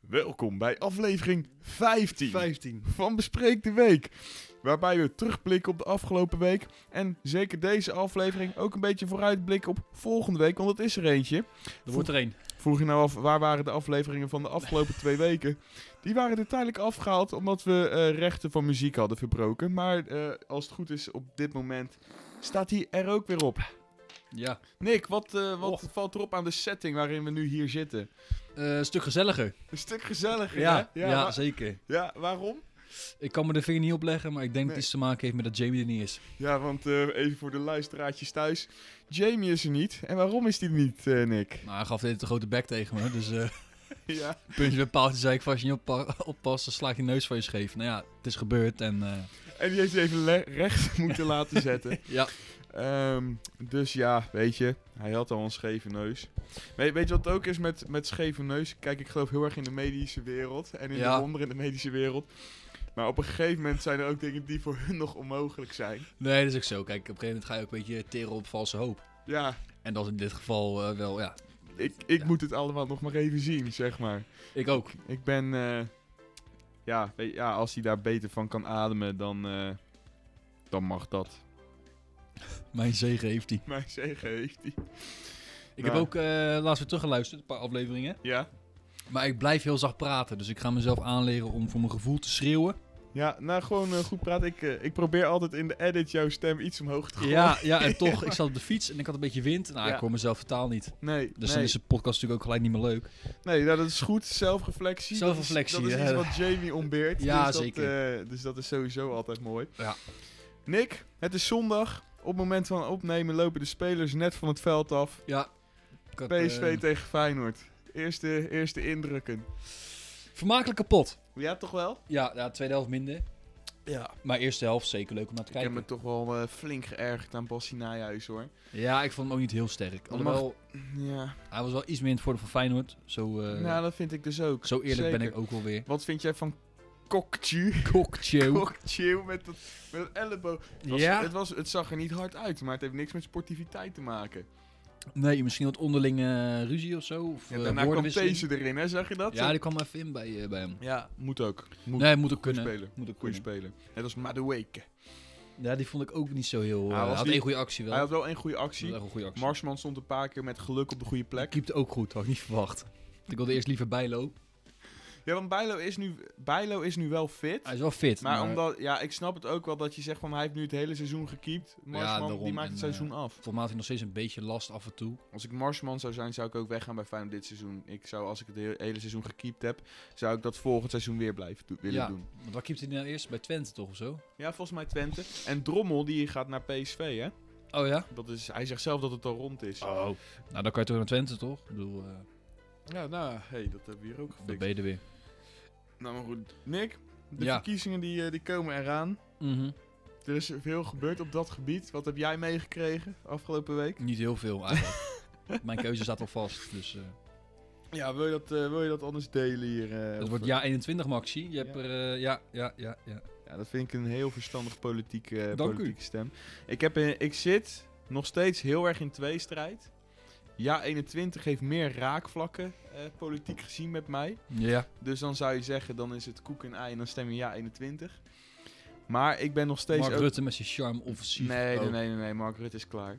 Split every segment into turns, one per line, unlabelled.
Welkom bij aflevering 15
15.
van Bespreek de Week. Waarbij we terugblikken op de afgelopen week. En zeker deze aflevering ook een beetje vooruitblikken op volgende week, want het is er eentje.
Er wordt er één.
Vroeg je nou af, waar waren de afleveringen van de afgelopen twee weken? Die waren er tijdelijk afgehaald omdat we eh, rechten van muziek hadden verbroken. Maar eh, als het goed is, op dit moment staat hij er ook weer op.
Ja.
Nick, wat, eh, wat
Och.
valt erop aan de setting waarin we nu hier zitten?
Eh, een stuk gezelliger.
Een stuk gezelliger,
Ja,
hè?
ja,
wa-
zeker.
ja, waarom?
Ik kan me de vinger niet opleggen, maar ik denk
Nee.
dat iets te maken heeft met dat Jamie er niet is.
Ja, want eh, even voor de luisteraartjes thuis. Jamie is er niet. En waarom is die er niet, eh, Nick?
Nou, hij gaf dit een grote bek tegen me, dus eh
ja.
puntje bij paaltje zei ik, van, als je niet oppa- oppast, dan slaat je neus van je scheef. Nou ja, het is gebeurd en eh,
En die heeft hij even le- recht moeten laten zetten.
ja.
Ehm, dus ja, weet je. Hij had al een scheve neus. Weet, weet je wat het ook is met, met scheve neus? Kijk, ik geloof heel erg in de medische wereld. En in
Ja.
de wonderen in de medische wereld. Maar op een gegeven moment zijn er ook dingen die voor hun nog onmogelijk zijn.
Nee, dat is ook zo. Kijk, op een gegeven moment ga je ook een beetje teren op valse hoop.
Ja,
En dat is in dit geval eh, wel, ja,
ik, ik
Ja.
moet het allemaal nog maar even zien, zeg maar.
ik ook.
Ik ben. eh, ja, weet- ja, als hij daar beter van kan ademen, dan. eh, dan mag dat.
Mijn zegen heeft hij.
Mijn zegen heeft hij.
Ik
Nou.
heb ook eh, laatst weer teruggeluisterd, een paar afleveringen.
Ja?
Maar ik blijf heel zacht praten, dus ik ga mezelf aanleren om voor mijn gevoel te schreeuwen.
Ja, nou gewoon eh, goed praten. Ik, eh, ik probeer altijd in de edit jouw stem iets omhoog te gooien.
Ja, ja, en toch, ik zat op de fiets en ik had een beetje wind. Nou,
Ja.
ik hoor mezelf totaal niet.
Nee,
Dus dan
nee,
is de podcast natuurlijk ook gelijk niet meer leuk.
nee nou, dat is goed. Zelfreflectie. dat is-
Zelfreflectie,
Dat is,
ja.
iets wat Jamie ontbeert.
Ja,
dus dat,
zeker.
eh, dus dat is sowieso altijd mooi.
Ja.
Nick, het is zondag. Op het moment van opnemen lopen de spelers net van het veld af.
Ja. Ik had,
PSV
eh,
tegen Feyenoord. Eerste, eerste indrukken.
vermakelijk kapot.
Ja, toch wel?
Ja, ja, tweede helft minder.
Ja.
Maar eerste helft zeker leuk om naar te
Ik heb
kijken.
me toch wel eh, flink geërgerd aan Bassi Nijhuis hoor.
Ja, ik vond hem ook niet heel sterk. Alhoewel,
Ja.
hij was wel iets meer in het voordeel van Feyenoord. Zo, eh,
nou, dat vind ik dus ook.
zo eerlijk ben
zeker.
ik ook wel weer.
Wat vind jij van Kokchu?
Kokchew.
Kokchu met dat, met dat elleboog. Het, was,
Ja.
het, was, het zag er niet hard uit, maar het heeft niks met sportiviteit te maken. Eh,
Nee, misschien wat onderlinge eh, ruzie of zo. Of,
En
eh,
daarna kwam
woordenwisseling.
deze erin, hè? Zag je dat?
Ja, die kwam even in bij, eh, bij hem.
Ja, moet ook. Moet
Nee, moet ook
goed
kunnen.
spelen.
Moet ook
Goeie
kunnen.
speler. Net als Madueke.
Ja, die vond ik ook niet zo heel...
Hij
eh, Hij
was
had
niet-
één goede actie wel.
Hij had wel één goede
Hij had
actie.
echt een goede actie.
Marsman stond een paar keer met geluk op de goede plek.
Keept ook goed, had ik niet verwacht. Ik wilde eerst liever Bijlo.
Ja, want Bijlo is nu, Bijlo is nu wel fit.
Hij is wel fit.
Maar, omdat, ja, ik snap het ook wel dat je zegt van hij heeft nu het hele seizoen gekiept. Marsman,
daarom.
die maakt het
En, eh,
seizoen af.
Volgens mij had hij nog steeds een beetje last af en toe.
Als ik Marsman zou zijn, zou ik ook weggaan bij Feyenoord dit seizoen. Ik zou, als ik het he- hele seizoen gekiept heb, zou ik dat volgend seizoen weer blijven do- willen
Ja.
doen.
Want waar keept hij nou eerst? Bij Twente toch of zo?
Ja, volgens mij Twente. En Drommel, die gaat naar PSV, hè?
Oh ja?
Dat is, hij zegt zelf dat het al rond is.
Oh. Nou, dan kan je toch naar Twente toch? Ik bedoel, eh,
Ja, nou, hey, dat hebben we hier ook
dan
gefixt.
ben je er weer.
Nou, maar goed. Nick, de
Ja.
verkiezingen die, eh, die komen eraan.
Mhm.
Er is veel gebeurd op dat gebied. Wat heb jij meegekregen afgelopen week?
Niet heel veel eigenlijk. Mijn keuze staat al vast. Dus, eh,
Ja, wil je dat, eh, wil je dat anders delen hier? eh,
het
of-
wordt jaar 21, Maxi. Je hebt
Ja.
er... eh, ja, ja, ja, ja.
Ja, dat vind ik een heel verstandig politieke, eh,
Dank u.
politieke stem. Ik, heb, eh, ik zit nog steeds heel erg in tweestrijd. Ja, 21 heeft meer raakvlakken eh, politiek gezien met mij.
Ja.
Dus dan zou je zeggen, dan is het koek en ei en dan stem je ja 21. Maar ik ben nog steeds...
Mark
ook-
Rutte met zijn charme offensief. Oh.
nee, nee,
ook.
nee, nee, nee, Mark Rutte is klaar.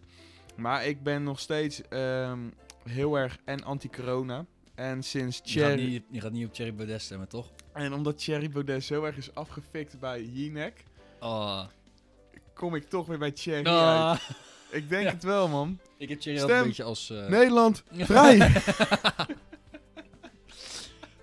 Maar ik ben nog steeds ehm, heel erg en anti-corona. En sinds
Je gaat,
Thierry...
niet, je gaat niet op Thierry Baudet stemmen, toch?
En omdat Thierry Baudet zo erg is afgefikt bij Jinek...
Ah.
kom ik toch weer bij Thierry uit.
Ah.
Ik denk
Ja.
het wel, man.
Ik heb Thierry
Stem.
altijd een beetje als... eh,
Nederland, vrij!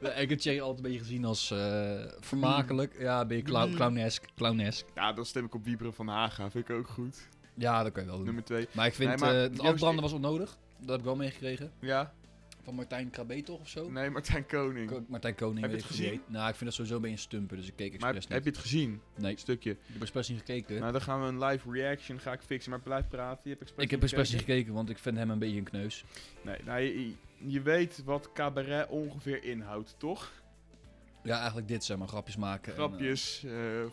Ja, ik heb Thierry altijd een beetje gezien als eh, vermakelijk. Ja, ben je clown,
Mm.
clownesk, clownesk.
ja, dan stem ik op Wieberen van Haga. Vind ik ook goed.
Ja, dat kan je wel doen.
Nummer 2.
Maar ik vind,
Nee, maar
eh,
Joost,
het afbranden
ik-
was onnodig. Dat heb ik wel meegekregen.
Ja?
Van Martijn Krabbe toch of zo?
Nee, Martijn Koning.
Ko- Martijn Koning.
Heb je
weet
het
ik hoe die
gezien?
heet. Nou, ik vind dat sowieso ben je een stumper, dus ik keek
maar
expres
heb, heb je het gezien?
niet. Nee,
Een stukje.
ik heb expres niet gekeken.
Nou, dan gaan we een live reaction ga ik fixen. Maar blijf praten. Je hebt expres
ik heb
niet
expres niet
gekeken.
gekeken, want ik vind hem een beetje een kneus.
Nee, nou, je, je- je weet wat cabaret ongeveer inhoudt, toch?
Ja, eigenlijk dit zijn maar grapjes maken. en, eh,
Grapjes. eh,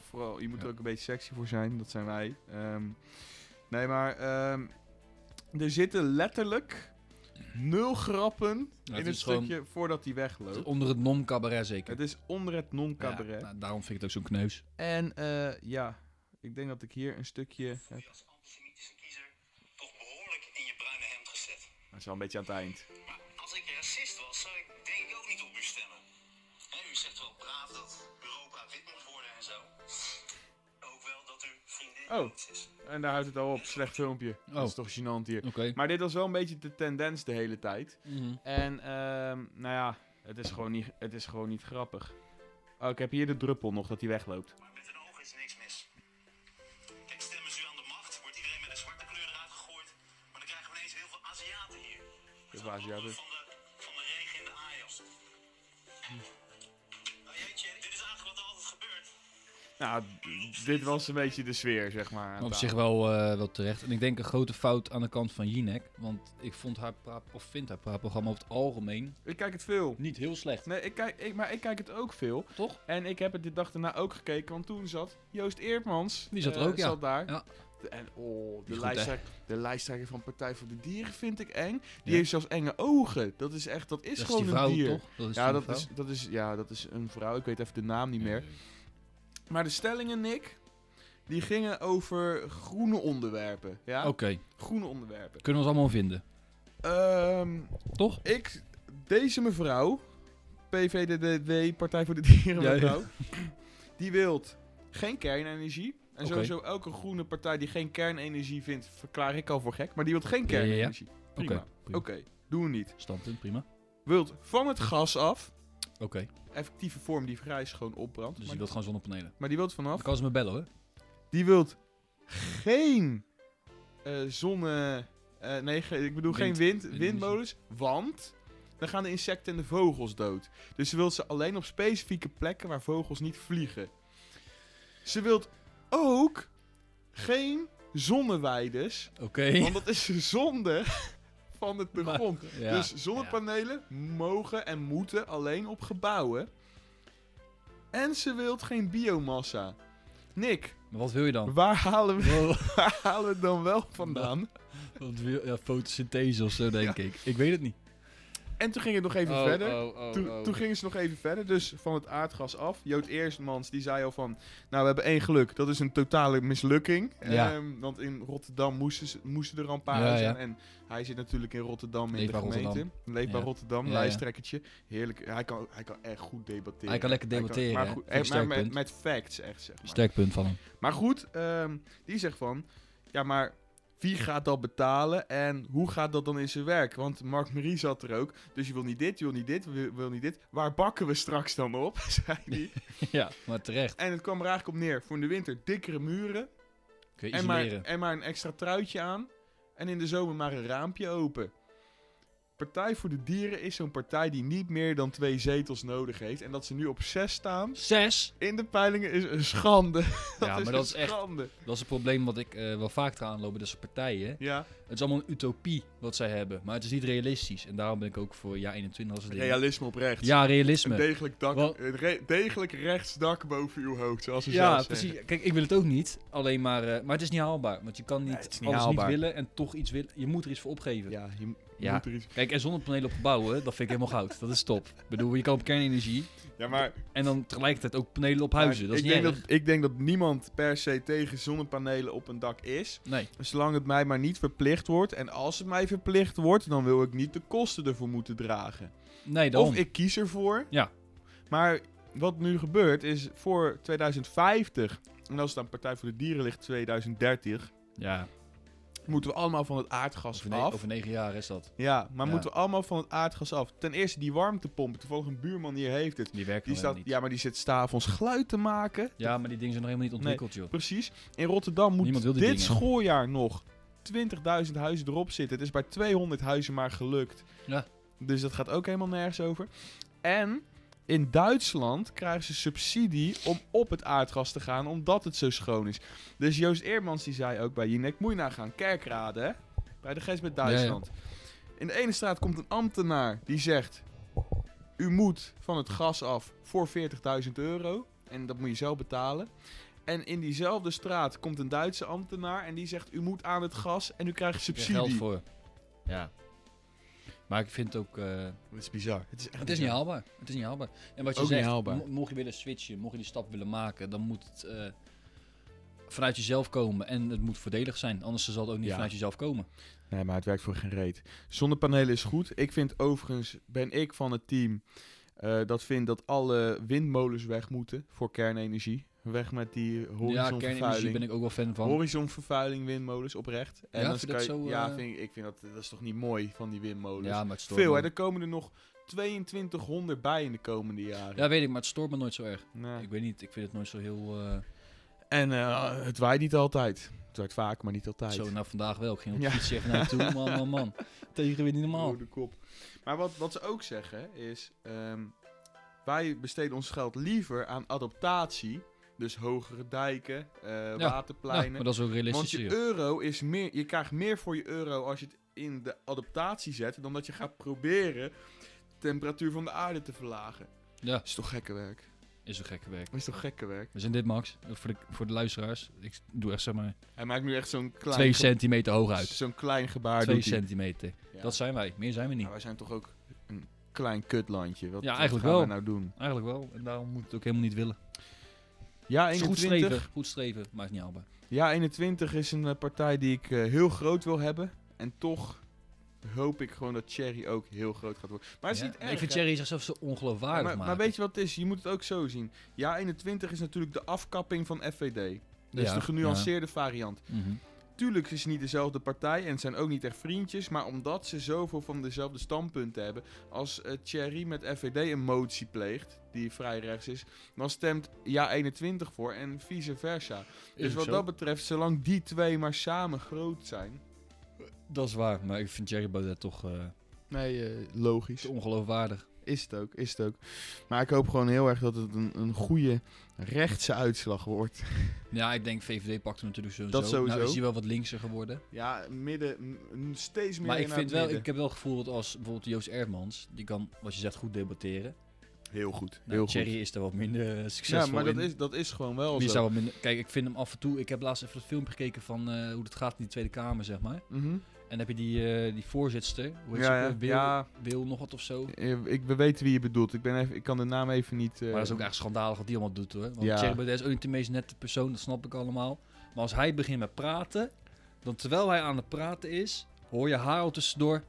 vooral, je moet er
ja.
ook een beetje sexy voor zijn. Dat zijn wij. Ehm, nee, maar... ehm, er zitten letterlijk nul grappen
eh, het
in het
is gewoon-
stukje voordat hij wegloopt.
Onder het non-cabaret zeker.
Het is onder het non-cabaret.
Ja, nou, daarom vind ik het ook zo'n kneus.
En eh, ja, ik denk dat ik hier een stukje heb.
je als antisemitische kiezer toch behoorlijk in je bruine hemd gezet.
Dat is wel een beetje aan het eind.
Maar als ik racist was, zou ik denk ik ook niet op u stemmen. Hè, u zegt wel braaf dat Europa wit moet worden en zo. Ook wel dat uw vriendin
Oh.
iets is.
En daar houdt het al op. Slecht filmpje. Dat is toch gênant hier.
Oké.
Maar dit was wel een beetje de tendens de hele tijd.
Mhm.
En ehm, nou ja, het is gewoon niet, het is gewoon niet grappig. Oh, ik heb hier de druppel nog dat hij wegloopt.
Maar met een oog is niks mis. Kijk, stemmen ze u aan de macht, wordt iedereen met een zwarte kleur eruit gegooid. Maar dan krijgen we ineens heel veel Aziaten hier.
Dat was ja, dus.
Van de, van de regen in de Ajax.
Hmm.
Nou jeetje, dit is eigenlijk wat er altijd gebeurt.
Nou, d- dit was een beetje de sfeer, zeg maar. aan
Maar op
tafel.
zich wel, eh, wel terecht. En ik denk een grote fout aan de kant van Jinek. Want ik vond haar pra- of vind haar praatprogramma over het algemeen
Ik kijk het veel.
niet heel slecht.
Nee, ik kijk, ik, maar ik kijk het ook veel.
Toch?
En ik heb het de dag daarna ook gekeken, want toen zat Joost Eertmans.
Die zat er
eh,
ook, ja.
Zat daar.
Ja.
De- En oh,
Die
de,
goed,
lijsttrekker, de lijsttrekker van Partij voor de Dieren vind ik eng. Die
Ja.
heeft zelfs enge ogen. Dat is echt, dat is
dat is
gewoon
die vrouw,
een dier.
toch? Dat is
Ja,
die
dat
vrouw?
is, dat is, ja, dat is een vrouw. Ik weet even de naam niet meer. Maar de stellingen, Nick, die gingen over groene onderwerpen. Ja,
Oké,
groene onderwerpen.
kunnen we ons allemaal vinden.
Ehm,
Toch?
ik, deze mevrouw, PVDD, Partij voor de Dieren
Ja, ja.
mevrouw, die wilt geen kernenergie. En
Oké.
sowieso elke groene partij die geen kernenergie vindt, verklaar ik al voor gek. Maar die wilt geen
Ja, ja, ja.
kernenergie. Prima.
Oké,
Oké,
prima.
doen we niet.
Standpunt, prima.
Wilt van het gas af.
Oké,
Effectieve vorm die vrij schoon opbrandt.
dus
maar,
je wilt gewoon zonnepanelen.
maar die wilt vanaf.
Dan kan ze me bellen hoor.
Die wilt geen eh, zonne. eh, nee, ge- ik bedoel geen wind,
Wind. Windenergie.
windmolens. Want dan gaan de insecten en de vogels dood. Dus ze wil ze alleen op specifieke plekken waar vogels niet vliegen. Ze wilt ook geen zonneweiden.
Oké.
Want dat is zonde van het de
Maar-
grond.
Ja.
Dus zonnepanelen mogen en moeten alleen op gebouwen. En ze wilt geen biomassa. Nick,
Maar wat wil je dan?
waar halen we
Wow,
Waar halen we het dan wel vandaan?
wat wil- ja, fotosynthese of zo denk ik. Ik weet het niet.
En toen ging het nog even verder. toen,
oh.
toen gingen ze nog even verder, dus van het aardgas af. Jood Eerstmans die zei al van, nou we hebben één geluk, dat is een totale mislukking.
Ja.
Ehm, want in Rotterdam moesten, ze- moesten er al een paar
Ja,
uit
ja.
zijn. En hij zit natuurlijk in Rotterdam in
Leefbaar
de gemeente.
Rotterdam.
Leefbaar
Ja.
Rotterdam,
Ja, ja.
lijsttrekkertje. Heerlijk, hij kan, hij kan echt goed debatteren.
Hij kan lekker debatteren,
maar
hè.
goed,
Vind ik
eh, maar
sterk
met,
punt.
met facts echt, zeg maar.
Sterk punt van hem.
Maar goed, ehm, die zegt van... Ja, maar wie gaat dat betalen en hoe gaat dat dan in zijn werk? Want Mark Marie zat er ook. Dus je wil niet dit, je wil niet dit, je wil- wil niet dit. Waar bakken we straks dan op, zei hij.
ja, maar terecht.
En het kwam er eigenlijk op neer. Voor in de winter dikkere muren.
Kun je
En maar,
isoleren.
en maar een extra truitje aan. En in de zomer maar een raampje open. Partij voor de Dieren is zo'n partij die niet meer dan twee zetels nodig heeft. En dat ze nu op zes staan
Zes.
in de peilingen is een schande. Dat
Ja,
is
maar dat
een
is echt-
schande.
Dat is het probleem wat ik eh, wel vaak ga aanlopen. Dat zijn partijen.
Ja.
Het is allemaal een utopie wat zij hebben. Maar het is niet realistisch. En daarom ben ik ook voor jaar 21 als het ding.
Realisme oprecht.
Ja,
Een
realisme.
degelijk, dak,
Wel-
een re- degelijk rechtsdak boven uw hoofd, zoals ze
ja,
zelf
precies.
zeggen.
Kijk, ik wil het ook niet. Alleen maar... eh, maar het is niet haalbaar. Want je kan niet,
Nee, het is niet
alles
haalbaar.
niet willen en toch iets willen. Je moet er iets voor opgeven.
Ja, je m-
Ja.
moet er iets...
Kijk, en zonnepanelen op gebouwen, dat vind ik helemaal goud. Dat is top. Ik bedoel, je kan op kernenergie
Ja, maar...
en dan tegelijkertijd ook panelen op huizen. Dat is
ik,
niet
denk
erg.
dat, ik denk dat niemand per se tegen zonnepanelen op een dak is.
Nee,
Zolang het mij maar niet verplicht wordt. En als het mij verplicht wordt, dan wil ik niet de kosten ervoor moeten dragen.
nee dan.
Of ik kies ervoor.
Ja.
Maar wat nu gebeurt is voor 2050... En als het aan Partij voor de Dieren ligt, 2030...
Ja,
Moeten we allemaal van het aardgas
over, ne-
af.
over negen jaar is dat.
Ja, maar
Ja.
moeten we allemaal van het aardgas af? Ten eerste die warmtepompen. Toevallig een buurman hier heeft het.
Die werken
Die
nog helemaal
staat,
niet. Ja.
ja, maar die zit s'avonds geluid te maken.
maar die dingen zijn nog helemaal niet ontwikkeld, joh.
Precies. In Rotterdam moet
Niemand wil
dit
die dingen.
schooljaar nog 20.000 huizen erop zitten. Het is bij 200 huizen maar gelukt.
Ja.
Dus dat gaat ook helemaal nergens over. En in Duitsland krijgen ze subsidie om op het aardgas te gaan, omdat het zo schoon is. Dus Joost Eermans die zei ook bij Jinek, moet je nou gaan kerkraden, hè? Bij de grens met
Ja, ja.
Duitsland. In de ene straat komt een ambtenaar die zegt... U moet van het gas af voor 40.000 euro. En dat moet je zelf betalen. En in diezelfde straat komt een Duitse ambtenaar en die zegt... U moet aan het gas en u krijgt
Er is geld
subsidie.
voor. Ja. Maar ik vind het ook... eh,
Dat is bizar. Het is, echt
het is niet
bizar.
haalbaar. Het is niet haalbaar. En wat je
Ook niet
zegt,
haalbaar.
mo- mocht je willen switchen, mocht je die stap willen maken, dan moet het eh, vanuit jezelf komen. En het moet voordelig zijn, anders zal het ook niet
Ja.
vanuit jezelf komen.
Nee, maar het werkt voor geen reet. Zonnepanelen is goed. Ik vind overigens, ben ik van het team eh, dat vindt dat alle windmolens weg moeten voor kernenergie. Weg met die
ja,
horizonvervuiling.
kernenergie ben ik ook wel fan van.
Horizonvervuiling windmolens, oprecht. En
Ja,
dan
vind je dat
kan je-
zo,
ja
eh,
vind ik, ik vind dat, dat is toch niet mooi van die windmolens.
ja, maar het stoort
Veel,
me.
hè? Er komen er nog 2200 bij in de komende jaren.
Ja, weet ik, maar het stoort me nooit zo erg.
Nou.
Ik weet niet, ik vind het nooit zo heel... eh,
En eh, het waait niet altijd. Het waait vaak, maar niet altijd.
Zo, nou vandaag wel. Ik ging op
Ja.
de fiets even naartoe. Man, man, man. Tegen weer niet normaal.
Rode kop. Maar wat, wat ze ook zeggen is... ehm, wij besteden ons geld liever aan adaptatie. Dus hogere dijken, eh,
Ja,
waterpleinen.
Nou, maar dat is ook
Want
realistisch.
je
joh.
euro is meer... Je krijgt meer voor je euro als je het in de adaptatie zet... dan dat je gaat proberen temperatuur van de aarde te verlagen.
Ja,
Dat is toch gekke werk?
is een gekke werk.
Dat is toch gekke werk?
We zijn dit, Max. Eh, Voor de, voor de luisteraars. Ik doe echt zeg maar
Hij maakt nu echt zo'n klein...
twee
ge-
centimeter hoog uit.
Zo'n klein gebaar
Twee
doet hij.
centimeter.
Ja.
Dat zijn wij. Meer zijn we niet.
Maar wij zijn toch ook een klein kutlandje. Wat,
Ja,
wat
eigenlijk
gaan
wel.
we nou doen?
Eigenlijk wel. En daarom moet het ook helemaal niet willen.
Ja,
Het is goed
21.
streven. Goed streven. Maar het is niet haalbaar.
Ja, 21 is een eh, partij die ik eh, heel groot wil hebben. En toch hoop ik gewoon dat Cherry ook heel groot gaat worden. Maar het is
Ja.
niet erg.
ik vind
hè?
Thierry zichzelf zo ongeloofwaardig
maar, maar
maken.
weet je wat het is? Je moet het ook zo zien. Ja, 21 is natuurlijk de afkapping van FVD. Dat is
Ja,
de genuanceerde variant.
Mhm.
Tuurlijk is het niet dezelfde partij en het zijn ook niet echt vriendjes. Maar omdat ze zoveel van dezelfde standpunten hebben. Als eh Thierry met FVD een motie pleegt, die vrij rechts is. Dan stemt ja 21 voor en vice versa.
Is
Dus
ook
wat
zo.
dat betreft, zolang die twee maar samen groot zijn.
Dat is waar. Maar ik vind Thierry Baudet toch eh,
Nee, eh, logisch.
te ongeloofwaardig.
Is het ook, is het ook. Maar ik hoop gewoon heel erg dat het een, een goede rechtse uitslag wordt.
Ja, ik denk VVD pakt hem natuurlijk sowieso.
Dat sowieso.
Nou is hij wel wat linkser geworden.
Ja, midden, m- steeds meer
Maar ik
naar
vind
het
wel,
midden.
ik heb wel het gevoel dat als bijvoorbeeld Joost Ermans, die kan, wat je zegt, goed debatteren.
Heel goed,
Nou,
heel
Thierry
goed.
is daar wat minder eh, succesvol
Ja, maar dat
in.
is, dat is gewoon wel
Die is
zo.
daar wat minder... Kijk, ik vind hem af en toe... Ik heb laatst even dat filmpje gekeken van eh, hoe het gaat in die Tweede Kamer, zeg maar.
Mhm.
En dan heb je die, eh, die voorzitster, hoe heet
Ja,
ze ook
ja.
weer? Wil,
Ja.
Wil nog wat of zo.
Eh, Ik, we weten wie je bedoelt. Ik, ben even, ik kan de naam even niet... eh,
Maar dat is ook echt schandalig wat die allemaal doet, hoor. Want
Ja.
Thierry Baudet is ook niet de meest nette persoon, dat snap ik allemaal. Maar als hij begint met praten, dan terwijl hij aan het praten is, hoor je haar al tussendoor.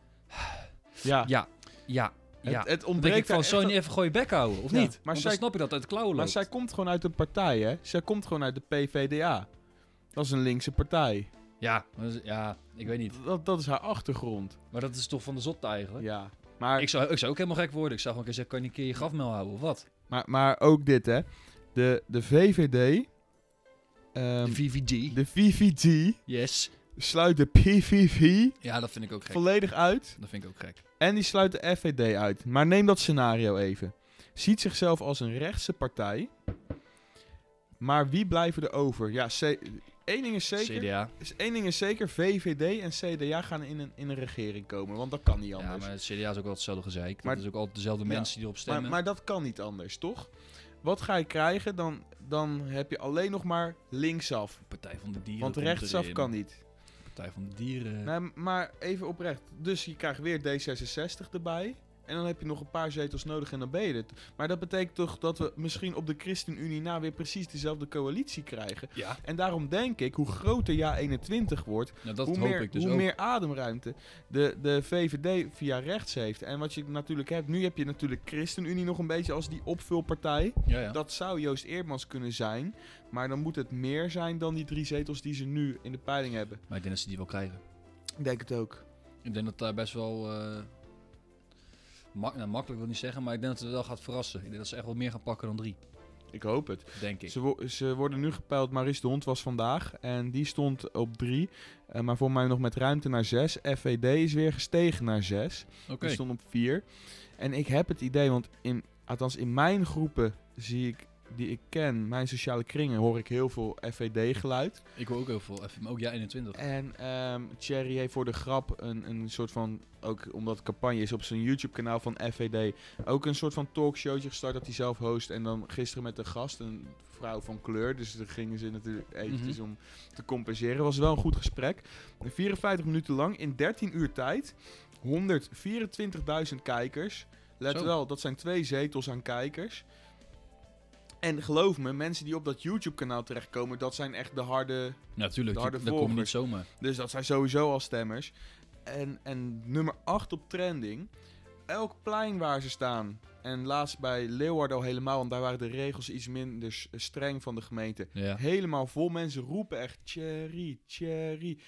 Ja,
Ja, ja,
Het, het
ja. Dan denk ik
ontbreekt
van,
daar
zou je
echt
niet even gewoon je bek houden, of
Ja,
niet?
maar
Maar
zij-
dan snap je dat het uit de klauwen
Maar
loopt.
zij komt gewoon uit een partij, hè? Zij komt gewoon uit de PVDA. Dat is een linkse partij.
Ja, maar dat is- ja, ik weet niet.
Dat, dat is haar achtergrond.
Maar dat is toch van de zotte eigenlijk?
Ja. Maar,
Ik, zou, ik zou ook helemaal gek worden. Ik zou gewoon een keer zeggen, kan je een keer je grafmel houden of wat?
maar, maar ook dit, hè? De, de VVD. ehm,
de VVG.
de VVD
Yes.
sluit de PVV
Ja, dat vind ik ook gek.
volledig uit.
Dat vind ik ook gek.
En die sluit de FVD uit. Maar neem dat scenario even. Ziet zichzelf als een rechtse partij. Maar wie blijven er over? Ja, C- één ding is zeker.
CDA.
Dus één ding is zeker, VVD en CDA gaan in een, in een regering komen, want dat kan niet
Ja,
anders.
maar het CDA is ook altijd hetzelfde gezeik. Dat
Maar-
is ook altijd dezelfde
Ja,
mensen die erop
maar,
stemmen.
maar, dat kan niet anders, toch? Wat ga je krijgen? Dan, dan heb je alleen nog maar linksaf,
Partij van de Dieren
want
komt
rechtsaf
erin.
kan niet.
Partij van de Dieren.
Nou, maar even oprecht, dus je krijgt weer D66 erbij en dan heb je nog een paar zetels nodig en dan ben je het. Maar dat betekent toch dat we misschien op de ChristenUnie na weer precies dezelfde coalitie krijgen.
Ja,
En daarom denk ik, hoe groter ja 21 wordt,
nou, dat
hoe
hoop
meer,
ik dus
hoe
ook.
meer ademruimte de, de VVD via rechts heeft. En wat je natuurlijk hebt, nu heb je natuurlijk ChristenUnie nog een beetje als die opvulpartij.
ja, ja.
Dat zou Joost Eerdmans kunnen zijn. Maar dan moet het meer zijn dan die drie zetels die ze nu in de peiling hebben.
Maar ik denk dat ze die wel krijgen.
Ik denk het ook.
Ik denk dat daar best wel... eh, mak nou, makkelijk wil ik niet zeggen, maar ik denk dat het wel gaat verrassen. Ik denk dat ze echt wel meer gaan pakken dan drie,
Ik hoop het.
denk ik.
Ze, wo- ze worden nu gepeild. Maurice de Hond was vandaag. En die stond op drie. Eh, maar voor mij nog met ruimte naar zes. FVD is weer gestegen naar zes.
Oké.
Die stond op 4. En ik heb het idee, want in, althans in mijn groepen zie ik die ik ken, mijn sociale kringen, hoor ik heel veel FVD-geluid.
Ik hoor ook heel veel FM. Ook ja, 21.
En ehm Thierry heeft voor de grap een, een soort van, ook omdat het campagne is op zijn YouTube-kanaal van FVD, ook een soort van talkshowtje gestart dat hij zelf host. En dan gisteren met een gast, een vrouw van kleur, dus daar gingen ze natuurlijk eventjes
Mhm.
om te compenseren. Was wel een goed gesprek. 54 minuten lang, in 13 uur tijd, 124.000 kijkers. Let
Zo.
wel, dat zijn twee zetels aan kijkers. En geloof me, mensen die op dat YouTube-kanaal terechtkomen, dat zijn echt de harde
Natuurlijk,
de harde
dat komt niet
volgers.
zomaar.
dus dat zijn sowieso al stemmers. En, en nummer 8 op trending. Elk plein waar ze staan. En laatst bij Leeuwarden al helemaal, want daar waren de regels iets minder s- streng van de gemeente.
Ja.
Helemaal vol mensen roepen echt Thierry, Thierry.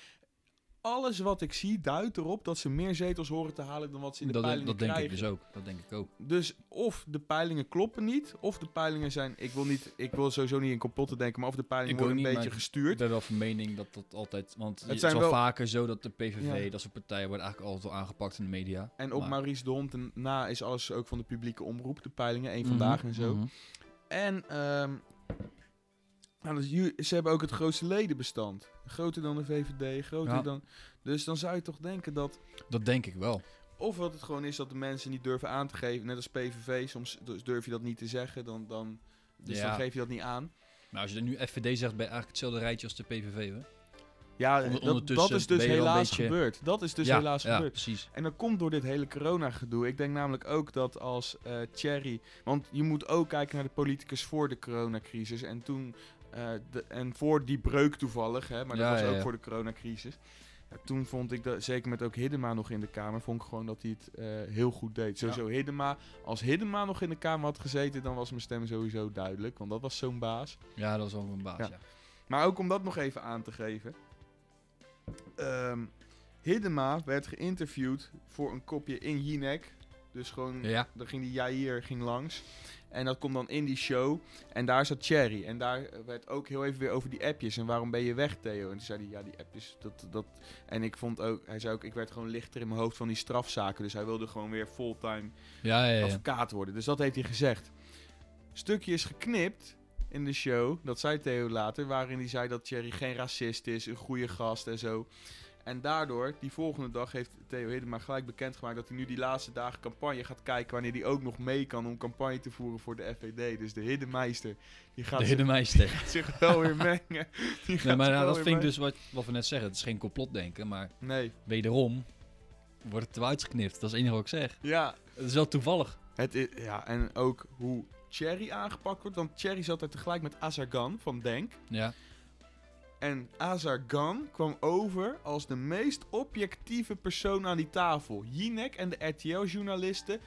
Alles wat ik zie duidt erop dat ze meer zetels horen te halen dan wat ze in de
Dat, dat
peilingen
denk
krijgen.
ik dus ook. Dat denk ik ook.
Dus of de peilingen kloppen niet, of de peilingen zijn... Ik wil, niet, ik wil sowieso niet in complotten denken, maar of de peilingen
Ik ook
worden een
niet,
beetje
maar- Ik
gestuurd.
ben wel van mening dat dat altijd... Want het,
zijn
is wel,
wel-
vaker zo dat de PVV,
Ja.
dat soort partijen, worden eigenlijk altijd wel aangepakt in de media.
En op
Maar-
Maurice de Hond en na is alles ook van de publieke omroep. De peilingen, één
Mhm,
vandaag en zo.
mhm.
En ehm, nou, dat is ju- ze hebben ook het grootste ledenbestand. Groter dan de VVD, groter
Ja.
dan... Dus dan zou je toch denken dat...
Dat denk ik wel.
Of wat het gewoon is dat de mensen niet durven aan te geven. Net als PVV, soms dus durf je dat niet te zeggen. Dan, dan, dus
Ja.
dan geef je dat niet aan.
Maar als je er nu FVD zegt, ben je eigenlijk hetzelfde rijtje als de PVV, hè?
Ja,
Onder-
dat, dat
ondertussen
is dus
ben je wel een
helaas
beetje-
gebeurd. Dat is dus
ja,
helaas
ja,
gebeurd.
precies.
En dat komt door dit hele corona-gedoe. Ik denk namelijk ook dat als eh Thierry... Want je moet ook kijken naar de politicus voor de coronacrisis. En toen... eh, de, en voor die breuk toevallig, hè, maar dat
Ja,
was
ja,
ook
ja.
voor de coronacrisis. Ja, toen vond ik, dat, zeker met ook Hiddema nog in de Kamer, vond ik gewoon dat hij het eh, heel goed deed. Sowieso Hiddema. Als Hiddema nog in de Kamer had gezeten, dan was mijn stem sowieso duidelijk. Want dat was zo'n baas.
Ja, dat is wel een baas,
Ja.
ja.
Maar ook om dat nog even aan te geven. Ehm, Hiddema werd geïnterviewd voor een kopje in Jinek. Dus gewoon,
Ja.
dan ging die Jair ging langs. En dat komt dan in die show. En daar zat Cherry. En daar werd ook heel even weer over die appjes. En waarom ben je weg, Theo? En toen zei hij, ja, die appjes, dat, dat... En ik vond ook, hij zei ook, ik werd gewoon lichter in mijn hoofd van die strafzaken. Dus hij wilde gewoon weer fulltime
Ja, ja, ja.
advocaat worden. Dus dat heeft hij gezegd. Stukje is geknipt in de show, dat zei Theo later, waarin hij zei dat Thierry geen racist is, een goede gast en zo. En daardoor, die volgende dag, heeft Theo Hiddema gelijk bekendgemaakt dat hij nu die laatste dagen campagne gaat kijken wanneer hij ook nog mee kan om campagne te voeren voor de FVD. Dus de Hiddemeister, die gaat
De
zich,
Hiddemeister.
zich wel weer mengen. Die
Nee,
gaat
maar
zich
nou,
wel
dat
weer
vind ik
mengen.
dus wat, wat we net zeggen. Het is geen complotdenken, maar
Nee,
wederom wordt het eruit geknipt. Dat is het enige wat ik zeg.
ja.
Het is wel toevallig.
Het i- ja, en ook hoe Thierry aangepakt wordt, want Thierry zat er tegelijk met Azargan van Denk.
Ja.
En Azargan kwam over als de meest objectieve persoon aan die tafel. Jinek en de RTL-journalisten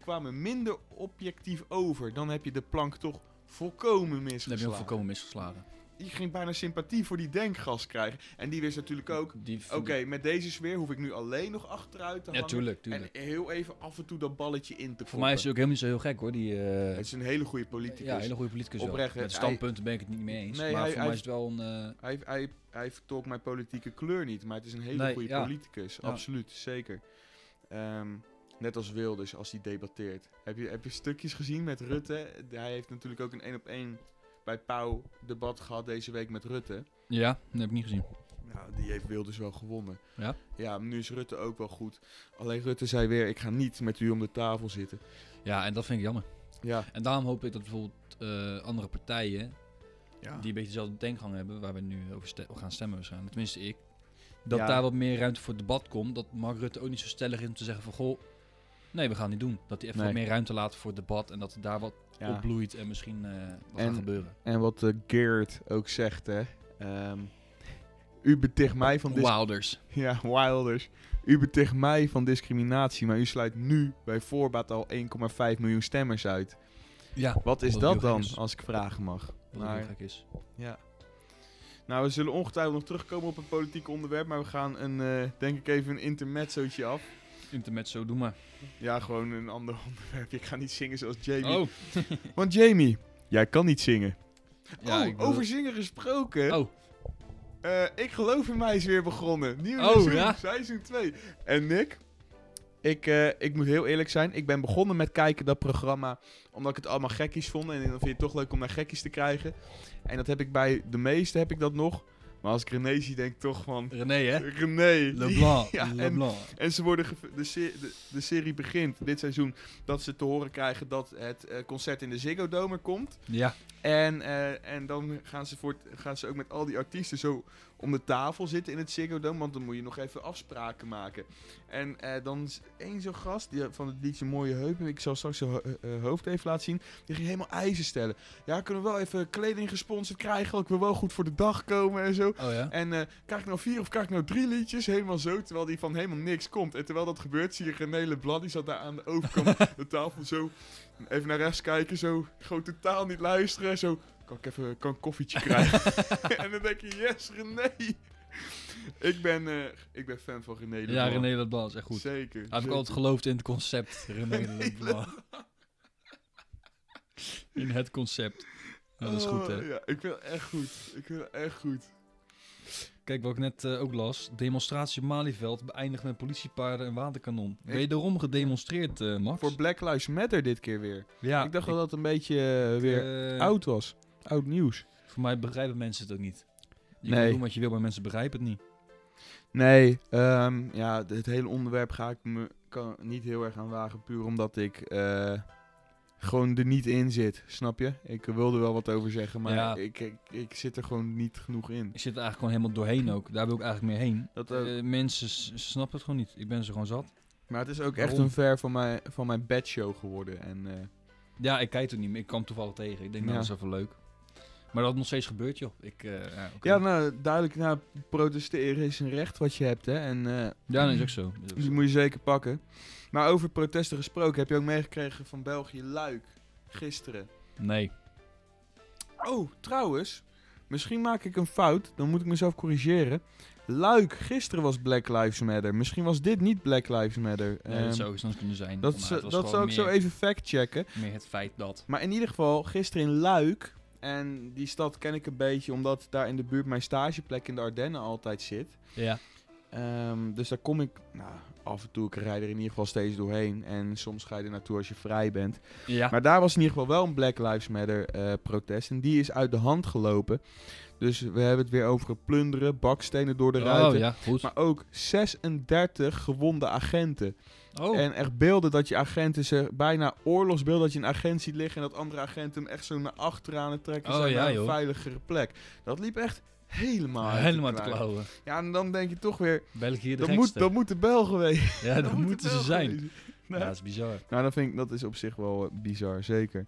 kwamen minder objectief over. Dan heb je de plank toch volkomen
Dan heb je hem
misgeslagen.
volkomen misgeslagen.
Die ging bijna sympathie voor die denkgas krijgen. En die wist natuurlijk ook...
Die-
Oké, met deze sfeer hoef ik nu alleen nog achteruit te
Ja,
hangen.
tuurlijk, tuurlijk.
En heel even af en toe dat balletje in te
Voor mij is hij
het...
ook helemaal niet zo heel gek, hoor. Die, eh,
Het is een hele goede politicus.
ja, hele goede politicus wel.
Oprecht, hè.
Met standpunten ben ik het niet mee eens.
Nee,
maar
hij-
voor
hij-
mij is het wel een... eh,
Hij, hij, hij vertolkt mijn politieke kleur niet, maar het is een hele
Nee,
goede
ja.
politicus.
Ja.
Absoluut, zeker. Ehm, net als Wilders, als hij debatteert. Heb je, heb je stukjes gezien met Rutte? Hij heeft natuurlijk ook een één op één bij Pauw debat gehad deze week met Rutte.
ja, dat heb ik niet gezien.
Nou, die heeft Wilders wel gewonnen.
Ja?
Ja, nu is Rutte ook wel goed. Alleen Rutte zei weer, ik ga niet met u om de tafel zitten.
Ja, en dat vind ik jammer.
Ja.
En daarom hoop ik dat bijvoorbeeld eh, andere partijen...
ja.
die een beetje dezelfde denkgang hebben... waar we nu over ste- gaan stemmen waarschijnlijk. Tenminste, ik. Dat
Ja.
daar wat meer ruimte voor debat komt. Dat Mark Rutte ook niet zo stellig is om te zeggen van... Goh, nee, we gaan niet doen. Dat hij even
Nee.
wat meer ruimte laat voor debat. En dat daar wat opbloeit en misschien eh, wat
En-
gaat gebeuren.
En wat eh, Geert ook zegt, hè. Ehm, u beticht mij van dit
Wilders.
Ja, Wilders. U beticht mij van discriminatie, maar u sluit nu bij voorbaat al 1,5 miljoen stemmers uit.
Ja,
Wat is
Wat heel
dat
gek
dan,
is.
als ik vragen mag?
wat ook heel
Maar,
gek is.
ja. Nou, we zullen ongetwijfeld nog terugkomen op een politiek onderwerp, maar we gaan een, eh, denk ik even een intermezzootje af.
Internet zo, doe maar.
Ja, gewoon een ander onderwerp. Ik ga niet zingen zoals Jamie.
Oh,
Want Jamie, jij kan niet zingen.
ja,
oh,
ik bedoel-
over zingen gesproken.
Oh.
Eh, ik geloof in mij is weer begonnen. Nieuw
Oh,
seizoen,
ja?
seizoen 2. En Nick, Ik, eh, ik moet heel eerlijk zijn, ik ben begonnen met kijken dat programma omdat ik het allemaal gekkies vond. En dan vind je het toch leuk om naar gekkies te krijgen. En dat heb ik bij de meeste heb ik dat nog. Maar als ik René zie, denk ik toch van...
René, hè?
René.
Leblanc.
Ja, en-
Leblanc.
En ze worden geve- de, se- de, de serie begint dit seizoen dat ze te horen krijgen dat het eh, concert in de Ziggo Dome er komt.
Ja,
En, eh, en dan gaan ze, voor, het- gaan ze ook met al die artiesten zo om de tafel zitten in het Ziggo Dome, want dan moet je nog even afspraken maken. En eh, dan is één zo'n gast die, van het liedje Mooie Heupen, ik zal straks zijn ho- eh, eh, hoofd even laten zien, die ging helemaal eisen stellen. Ja, kunnen we wel even kleding gesponsord krijgen, ik wil wel goed voor de dag komen en zo.
oh ja.
En eh, krijg ik nou vier of krijg ik nou drie liedjes? Helemaal zo, terwijl die van helemaal niks komt. En terwijl dat gebeurt, zie je René Leblanc, die zat daar aan de overkant de tafel zo. Even naar rechts kijken, zo. Gewoon totaal niet luisteren, zo. Kan ik even kan ik een koffietje krijgen? en dan denk je, yes, René. ik, ben, eh, ik ben fan van René
Ja,
Leblanc.
René Leblanc is echt goed.
Zeker.
Hij heb ik
zeker.
altijd geloofd in het concept, René Leblanc. In het concept. Nou, dat is goed, hè?
Oh, Ja, ik vind het echt goed. Ik vind het echt goed.
Kijk, wat ik net eh, ook las. Demonstratie op Malieveld beëindigd met politiepaarden en waterkanon.
Ik-
Wederom gedemonstreerd, eh, Max.
Voor Black Lives Matter dit keer weer.
ja,
ik dacht wel dat het een beetje eh, weer
eh,
oud was. Oud nieuws.
Voor mij begrijpen mensen het ook niet. Je
Nee.
kan doen wat je wil, maar mensen begrijpen het niet.
Nee, ehm, ja, d- het hele onderwerp ga ik me kan niet heel erg aan wagen. Puur omdat ik eh, gewoon er niet in zit, snap je? Ik wilde wel wat over zeggen, maar
Ja.
ik, ik, ik zit er gewoon niet genoeg in.
Ik zit er eigenlijk gewoon helemaal doorheen ook. Daar wil ik eigenlijk meer heen.
Dat ook.
Eh, mensen s- snappen het gewoon niet. Ik ben ze gewoon zat.
Maar het is ook echt
Waarom?
een ver van mijn, van mijn bedshow geworden. En, eh,
Ja, ik kijk het niet meer. Ik kwam toevallig tegen. Ik denk, nou,
Ja.
dat is even leuk. Maar dat nog steeds gebeurt, joh. Ik, eh, ja, oké.
Ja, nou, duidelijk, nou, protesteren is een recht wat je hebt, hè. En eh,
Ja, dat is ook zo. Dat is ook
dus
zo.
die moet je zeker pakken. Maar over protesten gesproken, heb je ook meegekregen van België Luik gisteren?
Nee.
Oh, trouwens. Misschien maak ik een fout. Dan moet ik mezelf corrigeren. Luik, gisteren was Black Lives Matter. Misschien was dit niet Black Lives Matter.
Nee, dat
Ehm,
zou ook eens anders kunnen zijn.
dat,
Maar
zou-
het was
dat
gewoon
zal ik zo
meer-
even factchecken.
Meer het feit dat.
Maar in ieder geval, gisteren in Luik. En die stad ken ik een beetje, omdat daar in de buurt mijn stageplek in de Ardennen altijd zit.
Ja.
Ehm, dus daar kom ik nou, af en toe. Ik rijd er in ieder geval steeds doorheen. En soms ga je er naartoe als je vrij bent.
Ja.
Maar daar was in ieder geval wel een Black Lives Matter eh, protest. En die is uit de hand gelopen. Dus we hebben het weer over plunderen, bakstenen door de
oh
ruiten.
ja, goed.
Maar ook 36 gewonde agenten.
oh.
En echt beelden dat je agenten ze bijna oorlogsbeeld dat je een agent ziet liggen en dat andere agenten hem echt zo naar achteraan aan het trekken
Oh,
zijn
ja,
naar een
joh.
veiligere plek. Dat liep echt helemaal uit de
Helemaal te
klauwen.
klauwen.
Ja, en dan denk je toch weer,
België de
dat moet,
gekste.
dat moet de Bel geweest.
ja, dat,
moet de
moeten
Bel
ze zijn.
geweest.
Ja,
Nee.
dat is bizar.
Nou, dat, vind ik, dat is op zich wel eh, bizar, zeker.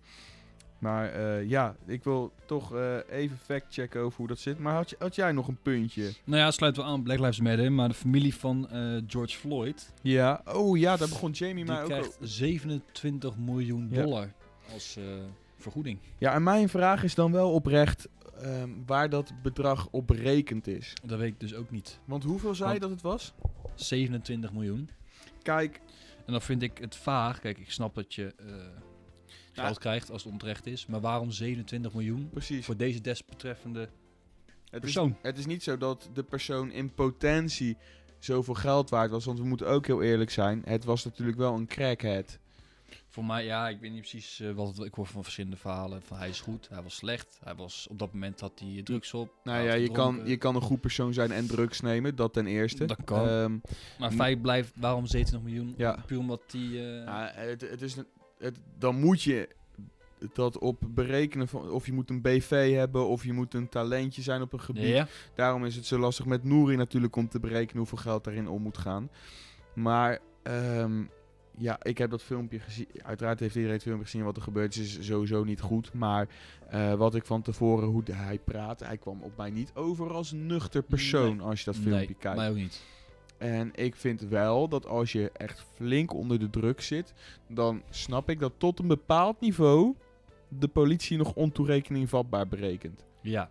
Maar eh, ja, ik wil toch eh, even factchecken over hoe dat zit. Maar had, je- had jij nog een puntje?
Nou ja, sluiten we aan Black Lives Matter. Maar de familie van eh, George Floyd,
Ja. Oh ja, daar begon Jamie
die
mij ook
krijgt
over.
27 miljoen
Ja.
dollar als eh, vergoeding.
Ja, en mijn vraag is dan wel oprecht ehm, waar dat bedrag op berekend is.
Dat weet ik dus ook niet.
Want hoeveel zei je
Want-
dat het was?
27 miljoen.
Kijk,
En dan vind ik het vaag. Kijk, ik snap dat je eh, geld krijgt als het onterecht is. Maar waarom 27 miljoen
Nou, precies.
voor deze desbetreffende
Het is,
persoon?
het is niet zo dat de persoon in potentie zoveel geld waard was. Want we moeten ook heel eerlijk zijn. Het was natuurlijk wel een crackhead.
Voor mij, ja, ik weet niet precies eh, wat het, ik hoor van verschillende verhalen. Van hij is goed, hij was slecht. Hij was op dat moment had hij drugs op.
Nou
hij
ja,
had
je kan,
gedronken.
je kan een goed persoon zijn en drugs nemen, dat ten eerste.
Dat kan.
Ehm,
Maar feit blijft, waarom 27 miljoen?
ja.
Puur omdat hij... eh,
Ja, het, het is een- het, dan moet je dat op berekenen van of je moet een BV hebben of je moet een talentje zijn op een gebied.
ja,
Daarom is het zo lastig met Nouri natuurlijk om te berekenen hoeveel geld daarin om moet gaan. Maar ehm, ja, ik heb dat filmpje gezien. Uiteraard heeft iedereen het filmpje gezien wat er gebeurd is. is sowieso niet goed. Maar eh, wat ik van tevoren, hoe hij praat, hij kwam op mij niet over als nuchter persoon als je dat filmpje
nee,
kijkt.
mij ook niet.
En ik vind wel dat als je echt flink onder de druk zit, dan snap ik dat tot een bepaald niveau de politie nog ontoerekening vatbaar berekent.
Ja,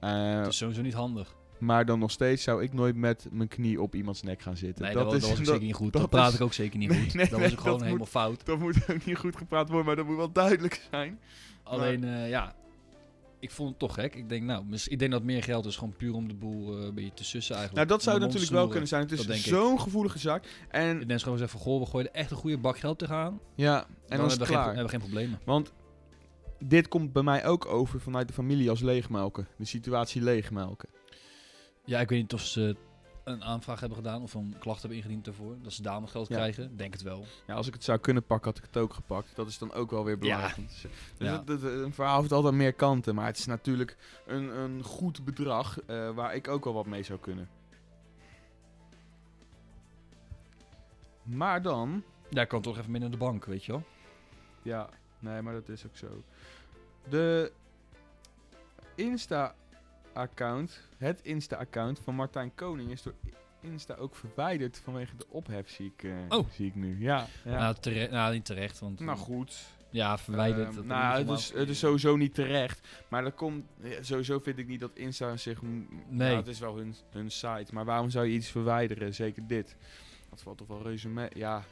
Eh,
het is sowieso niet handig.
maar dan nog steeds zou ik nooit met mijn knie op iemands nek gaan zitten.
Nee, dat, was- dat was ook
dat-
zeker niet goed.
dat
Dat, praat
is-
ik ook zeker niet
Nee,
goed.
nee,
dat
nee,
was ook gewoon
dat
helemaal fout.
dat moet ook niet goed gepraat worden, maar dat moet wel duidelijk zijn.
Alleen, eh, ja, ik vond het toch gek. Ik denk, nou, mis- ik denk dat meer geld is gewoon puur om de boel eh, een beetje te sussen
Nou,
eigenlijk.
dat zou
Om de
natuurlijk
mond
wel
snoeren.
kunnen zijn. Het
Dat denk
is
ik.
zo'n gevoelige zaak. En,
Ik denk gewoon eens even, goh, we gooien er echt een goede bak geld tegenaan. En
ja, en dan,
dan
is
hebben
het
we, geen,
klaar.
hebben we geen problemen.
Want dit komt bij mij ook over vanuit de familie als leegmelken. De situatie leegmelken.
Ja, ik weet niet of ze een aanvraag hebben gedaan of een klacht hebben ingediend daarvoor. Dat ze daarom het geld
Ja.
krijgen. Denk het wel.
Ja, als ik het zou kunnen pakken, had ik het ook gepakt. Dat is dan ook wel weer
Ja.
belangrijk. om te zeggen. Dus
Ja.
het- het- een verhaal heeft altijd meer kanten. Maar het is natuurlijk een, een goed bedrag eh, waar ik ook wel wat mee zou kunnen. Maar dan...
Ja, ik kan toch even mee naar de bank, weet je wel.
Ja, nee, maar dat is ook zo. De Insta-account, het Insta-account van Martijn Koning is door Insta ook verwijderd vanwege de ophef, zie ik, eh,
Oh.
zie ik nu. Ja, ja.
Nou, tere- nou, niet terecht, want...
nou goed.
Ja, verwijderd.
Ehm,
dat
nou,
moet
het
allemaal-
is, het is sowieso niet terecht. Maar dat komt, ja, sowieso vind ik niet dat Insta zich... m-
Nee.
Nou, het is wel hun, hun site. Maar waarom zou je iets verwijderen? Zeker dit. Dat valt toch wel reuze mee. Ja,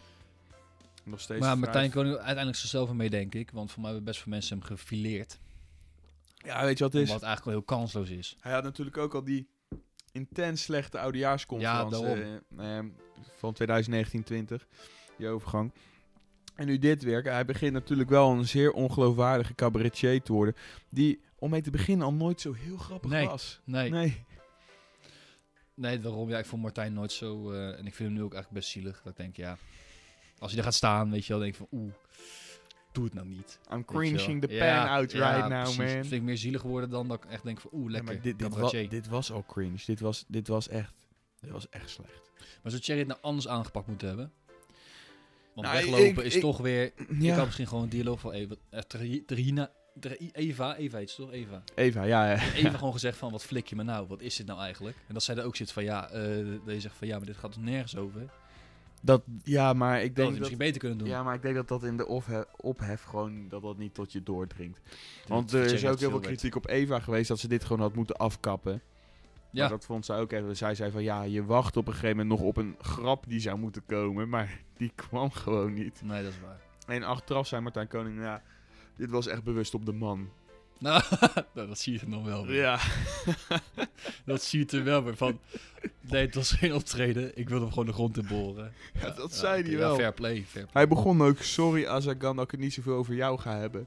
nog steeds
Maar
vrij-
Martijn Koning wil uiteindelijk zichzelf ermee, denk ik. Want voor mij hebben best veel mensen hem gefileerd.
Ja, weet je wat het is?
Omdat het eigenlijk wel heel kansloos is.
Hij had natuurlijk ook al die intens slechte oudejaarsconferentie
Ja,
eh, eh, van 2019-20, die overgang. En nu dit weer. Hij begint natuurlijk wel een zeer ongeloofwaardige cabaretier te worden, die om mee te beginnen al nooit zo heel grappig
Nee.
was.
Nee, nee.
Nee.
daarom. Ja, ik vond Martijn nooit zo... eh, en ik vind hem nu ook eigenlijk best zielig. Dat ik denk, ja... Als hij daar gaat staan, weet je wel, denk ik van... Oeh, doe het nou niet.
I'm
Weet je wel.
cringing the pan
Ja,
out
ja,
right now,
precies. Dat
man.
vind ik meer zielig worden dan dat ik echt denk van... Oeh,
Nee,
lekker.
maar dit, dit, wa-
cabaretier.
dit was al cringe. Dit was, dit was echt... Dit was echt slecht.
Maar zou Thierry het nou anders aangepakt moeten hebben? Want
Nou,
weglopen
ik-
is
ik-
toch weer... Je
Ja.
kan misschien gewoon een dialoog van Eva... eh, Terri- Terina- Ter- Eva, Eva heet ze toch? Eva.
Eva, ja, ja.
Even gewoon gezegd van, wat flik je me nou? Wat is dit nou eigenlijk? En dat zij er ook zit van, ja... eh dat je zegt van, ja, maar dit gaat toch nergens over? Dat
Dat, ja, maar ik
had
denk
je
dat...
misschien beter kunnen doen.
Ja, maar ik denk dat dat in de ophef, ophef gewoon dat dat niet tot je doordringt.
Terwijl
Want er
Thierry
is ook
heeft
heel veel
werk.
kritiek op Eva geweest dat ze dit gewoon had moeten afkappen. Ja.
Ja.
Maar dat vond zij ook even. Zij zei van ja, je wacht op een gegeven moment nog op een grap die zou moeten komen. Maar die kwam gewoon niet.
Nee, dat is waar.
En achteraf zei Martijn Koning, ja, dit was echt bewust op de man.
Nou, nou, dat zie je er dan wel weer.
Ja.
Dat zie je er wel weer van... Nee, het was geen optreden. Ik wilde hem gewoon de grond in boren.
Ja, dat zei
oké,
hij
ja,
wel.
fair play, fair play.
Hij begon ook, sorry Azagan dat ik het niet zoveel over jou ga hebben.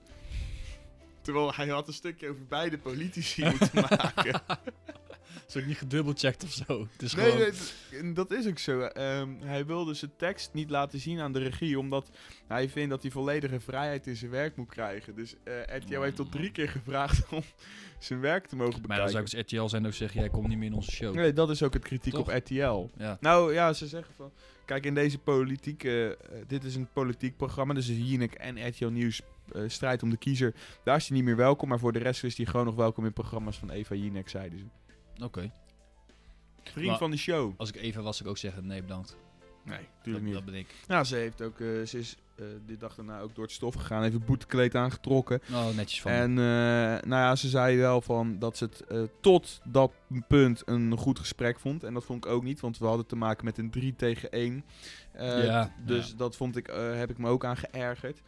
Terwijl hij had een stukje over beide politici moeten maken.
Is ook niet gedubbelcheckt of zo. Het is
Nee,
gewoon...
nee, d- en dat is ook zo. Ehm, hij wilde zijn tekst niet laten zien aan de regie, omdat hij vindt dat hij volledige vrijheid in zijn werk moet krijgen. Dus eh RTL heeft tot drie keer gevraagd om zijn werk te mogen
Maar dan zou
bekijken.
ik als RTL zijn ook zeggen, jij komt niet meer in onze show.
Nee, dat is ook het kritiek
Toch?
op RTL.
Ja.
Nou ja, ze zeggen van, kijk in deze politiek, eh, eh, dit is een politiek programma, dus Jinek en RTL Nieuws eh, strijd om de kiezer. Daar is hij niet meer welkom, maar voor de rest is hij gewoon nog welkom in programma's van Eva Jinek, zeiden ze.
Oké.
Vriend
Maar-
van de show.
Als ik even was, zou ik ook zeggen, nee bedankt.
Nee, natuurlijk
Dat,
niet.
dat ben ik.
Nou, ze heeft ook, eh, ze is eh de dag daarna ook door het stof gegaan, heeft een boetekleed aangetrokken.
Oh, netjes van me.
En eh, nou ja, ze zei wel van dat ze het eh, tot dat punt een goed gesprek vond. En dat vond ik ook niet, want we hadden te maken met een 3 tegen 1. Eh,
Ja,
t- dus
ja.
dat vond ik, eh, heb ik me ook aan geërgerd.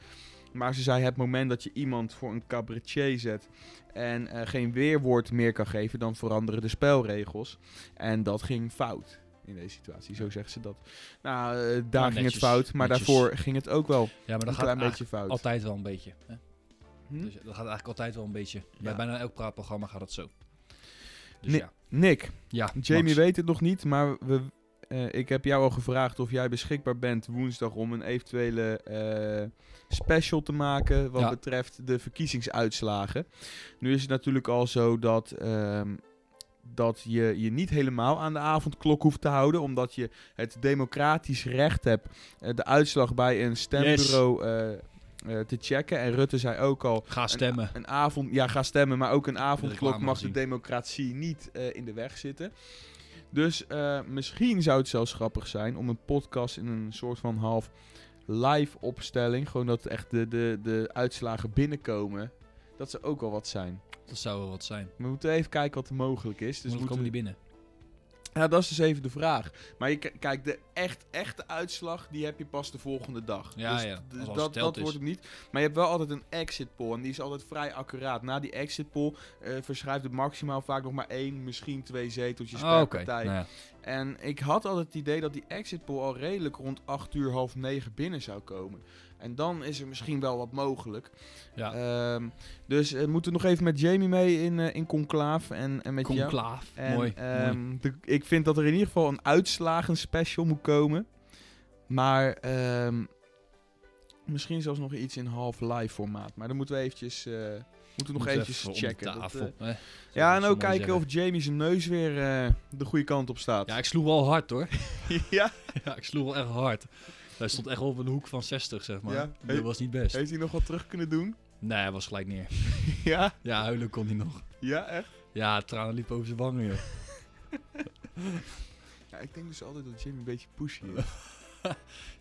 Maar ze zei, het moment dat je iemand voor een cabaretier zet en eh, geen weerwoord meer kan geven, dan veranderen de spelregels. En dat ging fout in deze situatie, zo zegt ze dat. Nou, eh, daar
Nou,
ging
netjes,
het fout, maar
netjes.
daarvoor ging het ook wel
ja, maar
een
dat gaat
klein
eigenlijk
beetje fout.
altijd wel een beetje. Hè?
Hm?
Dus dat gaat eigenlijk altijd wel een beetje.
Ja.
Bij bijna elk praatprogramma gaat dat zo. Dus
Nee.
ja.
Nick,
ja
Jamie
Max.
weet het nog niet, maar we, eh, ik heb jou al gevraagd of jij beschikbaar bent woensdag om een eventuele eh, special te maken wat
Ja.
betreft de verkiezingsuitslagen. Nu is het natuurlijk al zo dat, ehm, dat je je niet helemaal aan de avondklok hoeft te houden, omdat je het democratisch recht hebt eh, de uitslag bij een stembureau eh, eh, te checken. En Rutte zei ook al,
Ga stemmen.
een avond, ja, ga stemmen, maar ook een avondklok
reclame
mag de
gezien.
democratie niet eh, in de weg zitten. Dus eh, misschien zou het zelfs grappig zijn om een podcast in een soort van half live opstelling, gewoon dat echt de, de, de uitslagen binnenkomen, dat zou ook wel wat zijn.
Dat zou wel wat zijn.
We moeten even kijken wat er mogelijk is. Dus
Dus
moeten
komen die
we-
binnen.
Ja, dat is dus even de vraag. Maar je, k- kijk, de echt, echte uitslag, die heb je pas de volgende dag.
Ja,
dus
ja,
d-
als alles
dat,
verteld
dat
is.
wordt het niet. Maar je hebt wel altijd een exit poll en die is altijd vrij accuraat. Na die exit poll eh, verschuift het maximaal vaak nog maar één, misschien twee zeteltjes
Oh,
per
Oké,
partij.
nou ja.
En ik had altijd het idee dat die exit poll al redelijk rond 8 uur, half 9 binnen zou komen. En dan is er misschien wel wat mogelijk.
Ja.
Ehm, dus eh, moeten we nog even met Jamie mee in, eh in conclave en, en met jou.
Conclaaf.
En,
mooi. mooi.
ehm, de- ik vind dat er in ieder geval een uitslagenspecial moet komen. Maar ehm, misschien zelfs nog iets in half-live formaat. Maar dan moeten we eventjes, eh, moeten we nog
Moet
eventjes
even om de
checken. Dat,
tafel,
eh,
hè. Zoals
ja,
ze
en
zo
ook
mooi
kijken
zeggen.
of Jamie zijn neus weer eh, de goede kant op staat.
Ja, ik sloeg wel hard hoor.
Ja,
ja, ik sloeg wel echt hard. Hij stond echt op een hoek van 60, zeg maar.
Ja.
Dat was niet best.
heeft hij nog wat terug kunnen doen?
Nee, hij was gelijk neer.
ja,
Ja, huilen kon hij nog.
ja, echt.
Ja, tranen liepen over zijn wangen, joh.
Ja, ik denk dus altijd dat Jamie een beetje pushy is.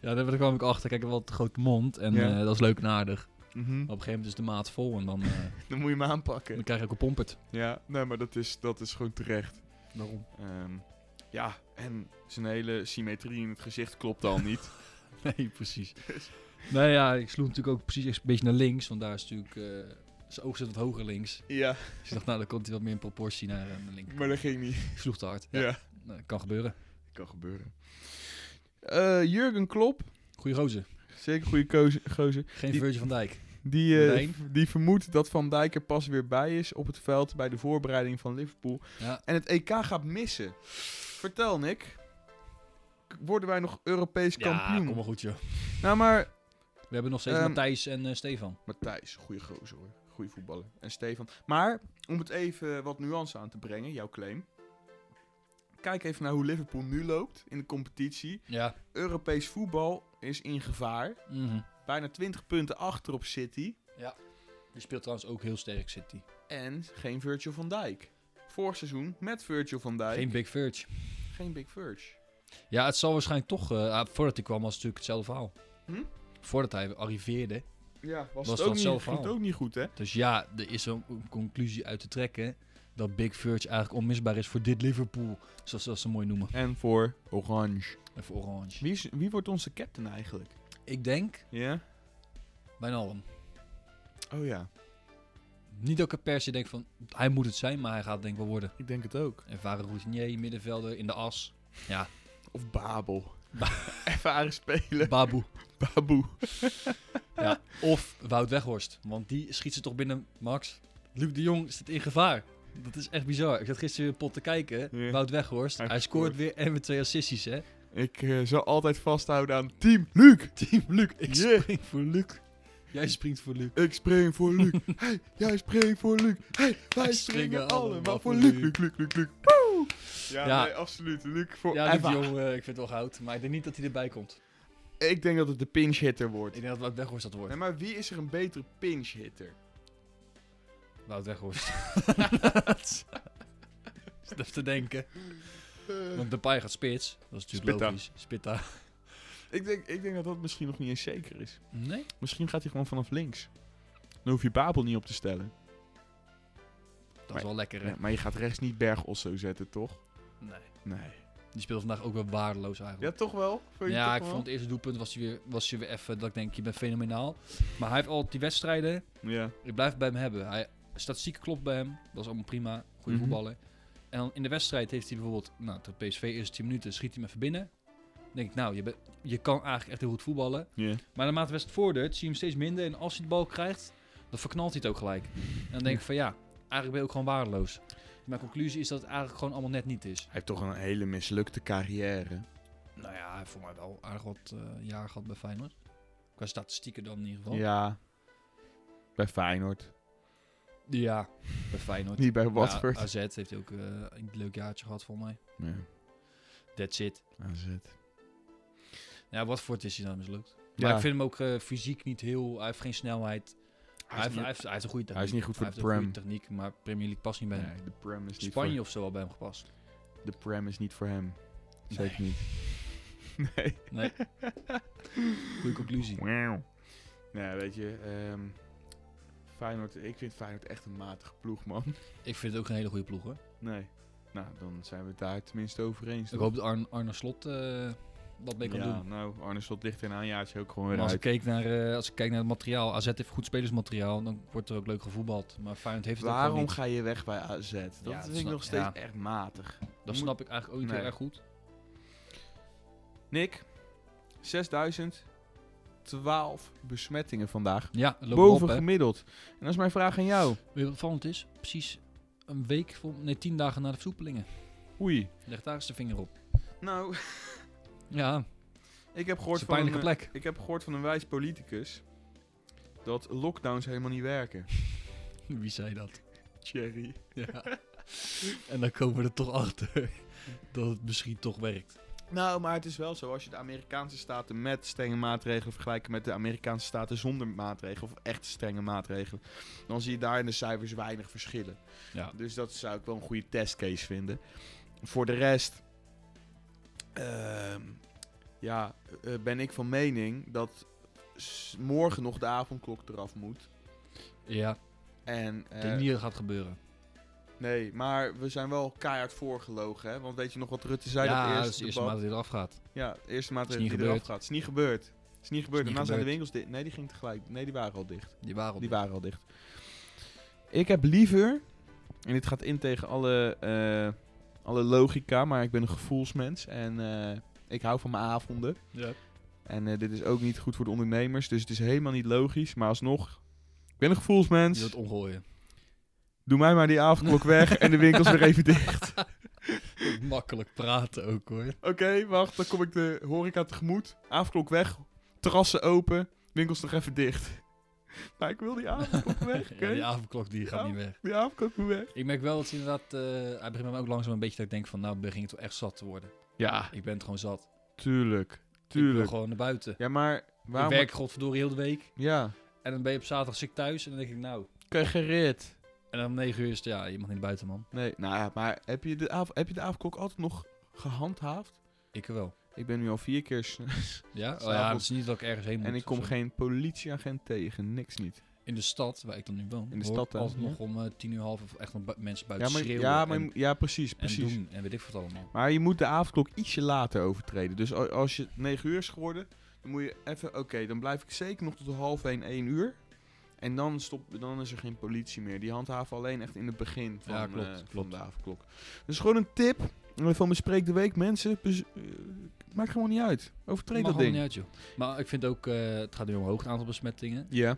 Ja, daar kwam ik achter. Kijk, hij had wel een grote mond en
Ja.
eh, dat is leuk en aardig. Maar
Mhm.
op een gegeven moment is de maat vol en dan, eh,
Dan moet je hem aanpakken.
dan krijg je ook een pompert.
Ja, nee, maar dat is, dat is gewoon terecht.
Waarom?
Ehm, ja, en zijn hele symmetrie in het gezicht klopt al niet.
Nee, precies. nou ja, ik sloeg natuurlijk ook precies een beetje naar links, want daar is natuurlijk... eh, zijn oog zit wat hoger links.
ja,
Dus ik dacht, nou, dan komt hij wat meer in proportie naar eh, de linkerkant.
maar dat ging niet.
Ik sloeg te hard.
Ja,
Ja, nou, kan gebeuren.
kan gebeuren. Eh, Jurgen Klopp,
Goeie roze.
zeker goede keuze, gozer.
Geen
Die-
Virgil van Dijk.
Die, eh,
Meteen.
v- die vermoedt dat Van Dijk er pas weer bij is op het veld bij de voorbereiding van Liverpool.
Ja.
En het EK gaat missen. Vertel, Nick. k- Worden wij nog Europees
ja,
kampioen?
kom maar goed, joh.
Nou, maar
We hebben nog steeds
Ehm,
Matthijs en eh, Stefan.
Matthijs, goede gozer hoor. Goede voetballer. En Stefan. Maar om het even wat nuance aan te brengen, jouw claim. Kijk even naar hoe Liverpool nu loopt in de competitie.
Ja.
Europees voetbal is in gevaar.
Mhm.
Bijna 20 punten achter op City.
Die speelt trouwens ook heel sterk City.
En geen Virgil van Dijk. Vorig seizoen met Virgil van Dijk.
Geen Big Verge.
geen Big Virgil.
Ja, het zal waarschijnlijk toch... eh, ah, voordat hij kwam was het natuurlijk hetzelfde verhaal.
Hm?
Voordat hij arriveerde.
Ja, was,
Was
het ook
dat
niet,
zelf
ging het
al?
ook niet goed, hè?
Dus ja, er is wel een conclusie uit te trekken... dat Big Verge eigenlijk onmisbaar is voor dit Liverpool. Zoals ze dat zo mooi noemen.
En voor Orange.
En voor Orange.
Wie, is- wie wordt onze captain eigenlijk?
Ik denk,
Ja?
bijna allen.
Oh ja,
Niet dat ik er per se denk van... hij moet het zijn, maar hij gaat het denk ik wel worden.
ik denk het ook.
Ervaren routinier, middenvelder, in de as.
Of Babel.
Ba-
Ervaren spelen.
Babu.
Baboe.
Ja, of Wout Weghorst. Want die schiet ze toch binnen, Max. Luc de Jong zit in gevaar. Dat is echt bizar. Ik zat gisteren weer een pot te kijken.
Ja.
Wout Weghorst.
Hij
Hij,
scoort.
scoort weer en met twee assists, hè.
Ik eh, zal altijd vasthouden aan Team Luc.
Team Luc. Ik
Yeah.
spring voor Luc. Jij springt voor Luc.
Ik spring voor Luc. Hey, jij springt voor Luc. Hey, wij
Wij
springen
springen
allemaal voor
allemaal voor
Luc.
Luc.
Luc, Luc, Luc, Luc. Woe! Ja,
Ja.
nee, absoluut. Luc voor
Ja, Luc de
Eva.
Jong, eh, ik vind het wel goud. Maar ik denk niet dat hij erbij komt.
Ik denk dat het de pinch hitter
Ik
wordt.
denk dat Wout Weghorst dat wordt.
Nee, maar wie is er een betere pinch hitter?
Wout Weghorst. Dat is te denken. Want Depay gaat spits. Dat is natuurlijk
Eh. Spitta.
logisch. Spitta.
Ik denk, ik denk dat dat misschien nog niet eens zeker is.
Nee?
Misschien gaat hij gewoon vanaf links. Dan hoef je Babel niet op te stellen.
Dat is wel lekker, hè?
maar je gaat rechts niet Bergosso zetten, toch?
Nee.
Nee.
Die speelde vandaag ook wel waardeloos eigenlijk.
Ja, toch wel? Vond je
Ja,
toch
ik
wel?
vond het eerste doelpunt was hij weer, was hij weer even dat ik denk, je bent fenomenaal. Maar hij heeft al die wedstrijden,
Ja.
ik blijf het bij hem hebben. Hij, statistiek klopt bij hem, dat is allemaal prima, goede
Mhm.
voetballer. En dan in de wedstrijd heeft hij bijvoorbeeld, nou, tot PSV eerste 10 minuten schiet hij me even binnen. Dan denk ik, nou, je, bent- je kan eigenlijk echt heel goed voetballen.
Ja.
Maar naarmate de wedstrijd vordert, zie je hem steeds minder. En als hij de bal krijgt, dan verknalt hij het ook gelijk. En dan denk ik van, ja, eigenlijk ben je ook gewoon waardeloos. Mijn conclusie is dat het eigenlijk gewoon allemaal net niet is.
Hij heeft toch een hele mislukte carrière.
Nou ja, hij heeft voor mij wel aardig wat eh, jaar gehad bij Feyenoord. Qua statistieken dan in ieder geval.
Ja. Bij Feyenoord.
Ja, bij Feyenoord.
Niet bij
Ja,
Watford.
AZ heeft ook eh, een leuk jaartje gehad volgens mij.
Ja,
That's it.
AZ.
Ja, Watford is hij dan mislukt.
Ja.
Maar ik vind hem ook eh, fysiek niet heel... Hij heeft geen snelheid. Hij, heeft, hij, heeft, hij heeft een goede
hij
techniek.
is niet goed voor
Hij
de
heeft een
Prem.
goede techniek, maar Premier League past niet bij hem.
Nee, de Prem is niet
Spanje of zo al bij hem gepast.
voor, De Prem is niet voor hem. Zeker niet. Nee.
Nee. Goede conclusie.
Wauw. Nee, weet je. ehm, Feyenoord, ik vind Feyenoord echt een matige ploeg, man.
Ik vind het ook een hele goede ploeg hoor.
Nee. Nou, dan zijn we het daar tenminste over eens.
Ik hoop dat Arn, Arne Slot eh wat mee kan
ja,
doen.
nou, Arne Slot ligt in een jaartje ook gewoon
Maar
weer
als ik,
uit.
kijk naar, eh, als ik kijk naar het materiaal, AZ heeft goed spelersmateriaal, dan wordt er ook leuk gevoetbald. Maar Feyenoord heeft het ook gewoon
Waarom
niet.
ga je weg bij AZ? Dat
dat
vind ik
snap-
nog steeds
ja.
echt matig.
Dat
moet-
snap ik eigenlijk ook niet
Nee.
heel erg goed.
Nick, 6012 besmettingen vandaag.
Ja, het loopt
Boven
op, hè.
gemiddeld. En dat is mijn vraag aan jou.
Weet je wat opvallend is? Precies een week, voor, nee, tien dagen na de versoepelingen.
Oei.
Leg daar eens de vinger op.
Nou,
Ja,
ik heb
het
gehoord
is een
van een,
pijnlijke plek.
Ik heb gehoord van een wijs politicus dat lockdowns helemaal niet werken.
eh, Wie zei dat?
Thierry.
Ja. en dan komen we er toch achter dat het misschien toch werkt.
Nou, maar het is wel zo. Als je de Amerikaanse staten met strenge maatregelen vergelijkt met de Amerikaanse staten zonder maatregelen, of echt strenge maatregelen, dan zie je daar in de cijfers weinig verschillen.
Ja.
Dus dat zou ik wel een goede testcase vinden. Voor de rest, ehm, ja, eh, ben ik van mening dat s- morgen nog de avondklok eraf moet.
Ja,
En, eh,
ik denk niet dat het gaat gebeuren.
Nee, maar we zijn wel keihard voorgelogen, hè? Want weet je nog wat Rutte zei?
ja,
dat
dat
eerst
is de eerste
debat-
maand dat dit eraf gaat.
Ja, de eerste maatregel
niet
die eraf
gebeurd.
gaat. Is niet gebeurd. Is niet gebeurd.
niet
Daarna zijn de
gebeurd.
winkels dicht. Nee, die ging tegelijk. Nee, die waren al dicht.
Die waren op.
Die waren al dicht. Ik heb liever... En dit gaat in tegen alle, eh, alle logica, maar ik ben een gevoelsmens. En eh, ik hou van mijn avonden.
Ja.
En eh, dit is ook niet goed voor de ondernemers. Dus het is helemaal niet logisch. Maar alsnog, ik ben een gevoelsmens.
Die wil het omgooien.
Doe mij maar die avondklok weg en de winkels weer even dicht.
Makkelijk praten ook hoor.
Oké, wacht, dan kom ik de horeca tegemoet. Avondklok weg, terrassen open, winkels nog even dicht. Maar ik wil die avondklok weg, oké?
Ja, die avondklok die gaat
Ja.
niet weg.
Die avondklok moet weg.
Ik merk wel dat ze inderdaad, eh, hij begint bij mij ook langzaam een beetje dat ik denk van nou begin ik toch echt zat te worden.
Ja,
Ik ben het gewoon zat.
tuurlijk,
Ik wil
Ah. tuurlijk.
gewoon naar buiten.
Ja, maar waarom...
Ik werk godverdorie heel de week.
Ja,
En dan ben je op zaterdag ziek thuis en dan denk ik nou.
kan je gerit.
En dan om negen uur is het ja, je mag niet buiten man.
Nee, nou ja, maar heb je, de av- heb je de avondklok altijd nog gehandhaafd?
Ik wel.
Ik ben nu al vier keer... s-
Ja? Oh ja,
S'avonds.
het is niet dat ik ergens heen moet.
en ik kom
of zo.
geen politieagent tegen, niks niet.
In de stad, waar ik dan nu woon,
In de
hoor
stad,
ik
hè?
altijd
Ja.
nog om eh, tien uur half of echt nog bu- mensen
Ja,
buiten
maar,
schreeuwen
ja, maar,
en,
ja precies,
en
precies.
doen en weet ik wat allemaal.
Maar je moet de avondklok ietsje later overtreden. Dus a- als je 9 uur is geworden, dan moet je even. Oké, dan blijf ik zeker nog tot half 1, 1 uur. En dan, stop, dan is er geen politie meer. Die handhaven alleen echt in het begin van,
Ja, klopt,
eh,
klopt.
van de avondklok. Dus gewoon een tip eh, van Bespreek de Week. Mensen, bes- eh, maakt gewoon niet uit. Overtreed
Mag
dat
allemaal
ding.
niet uit, joh. Maar ik vind ook, eh, het gaat nu omhoog, het aantal besmettingen.
Ja,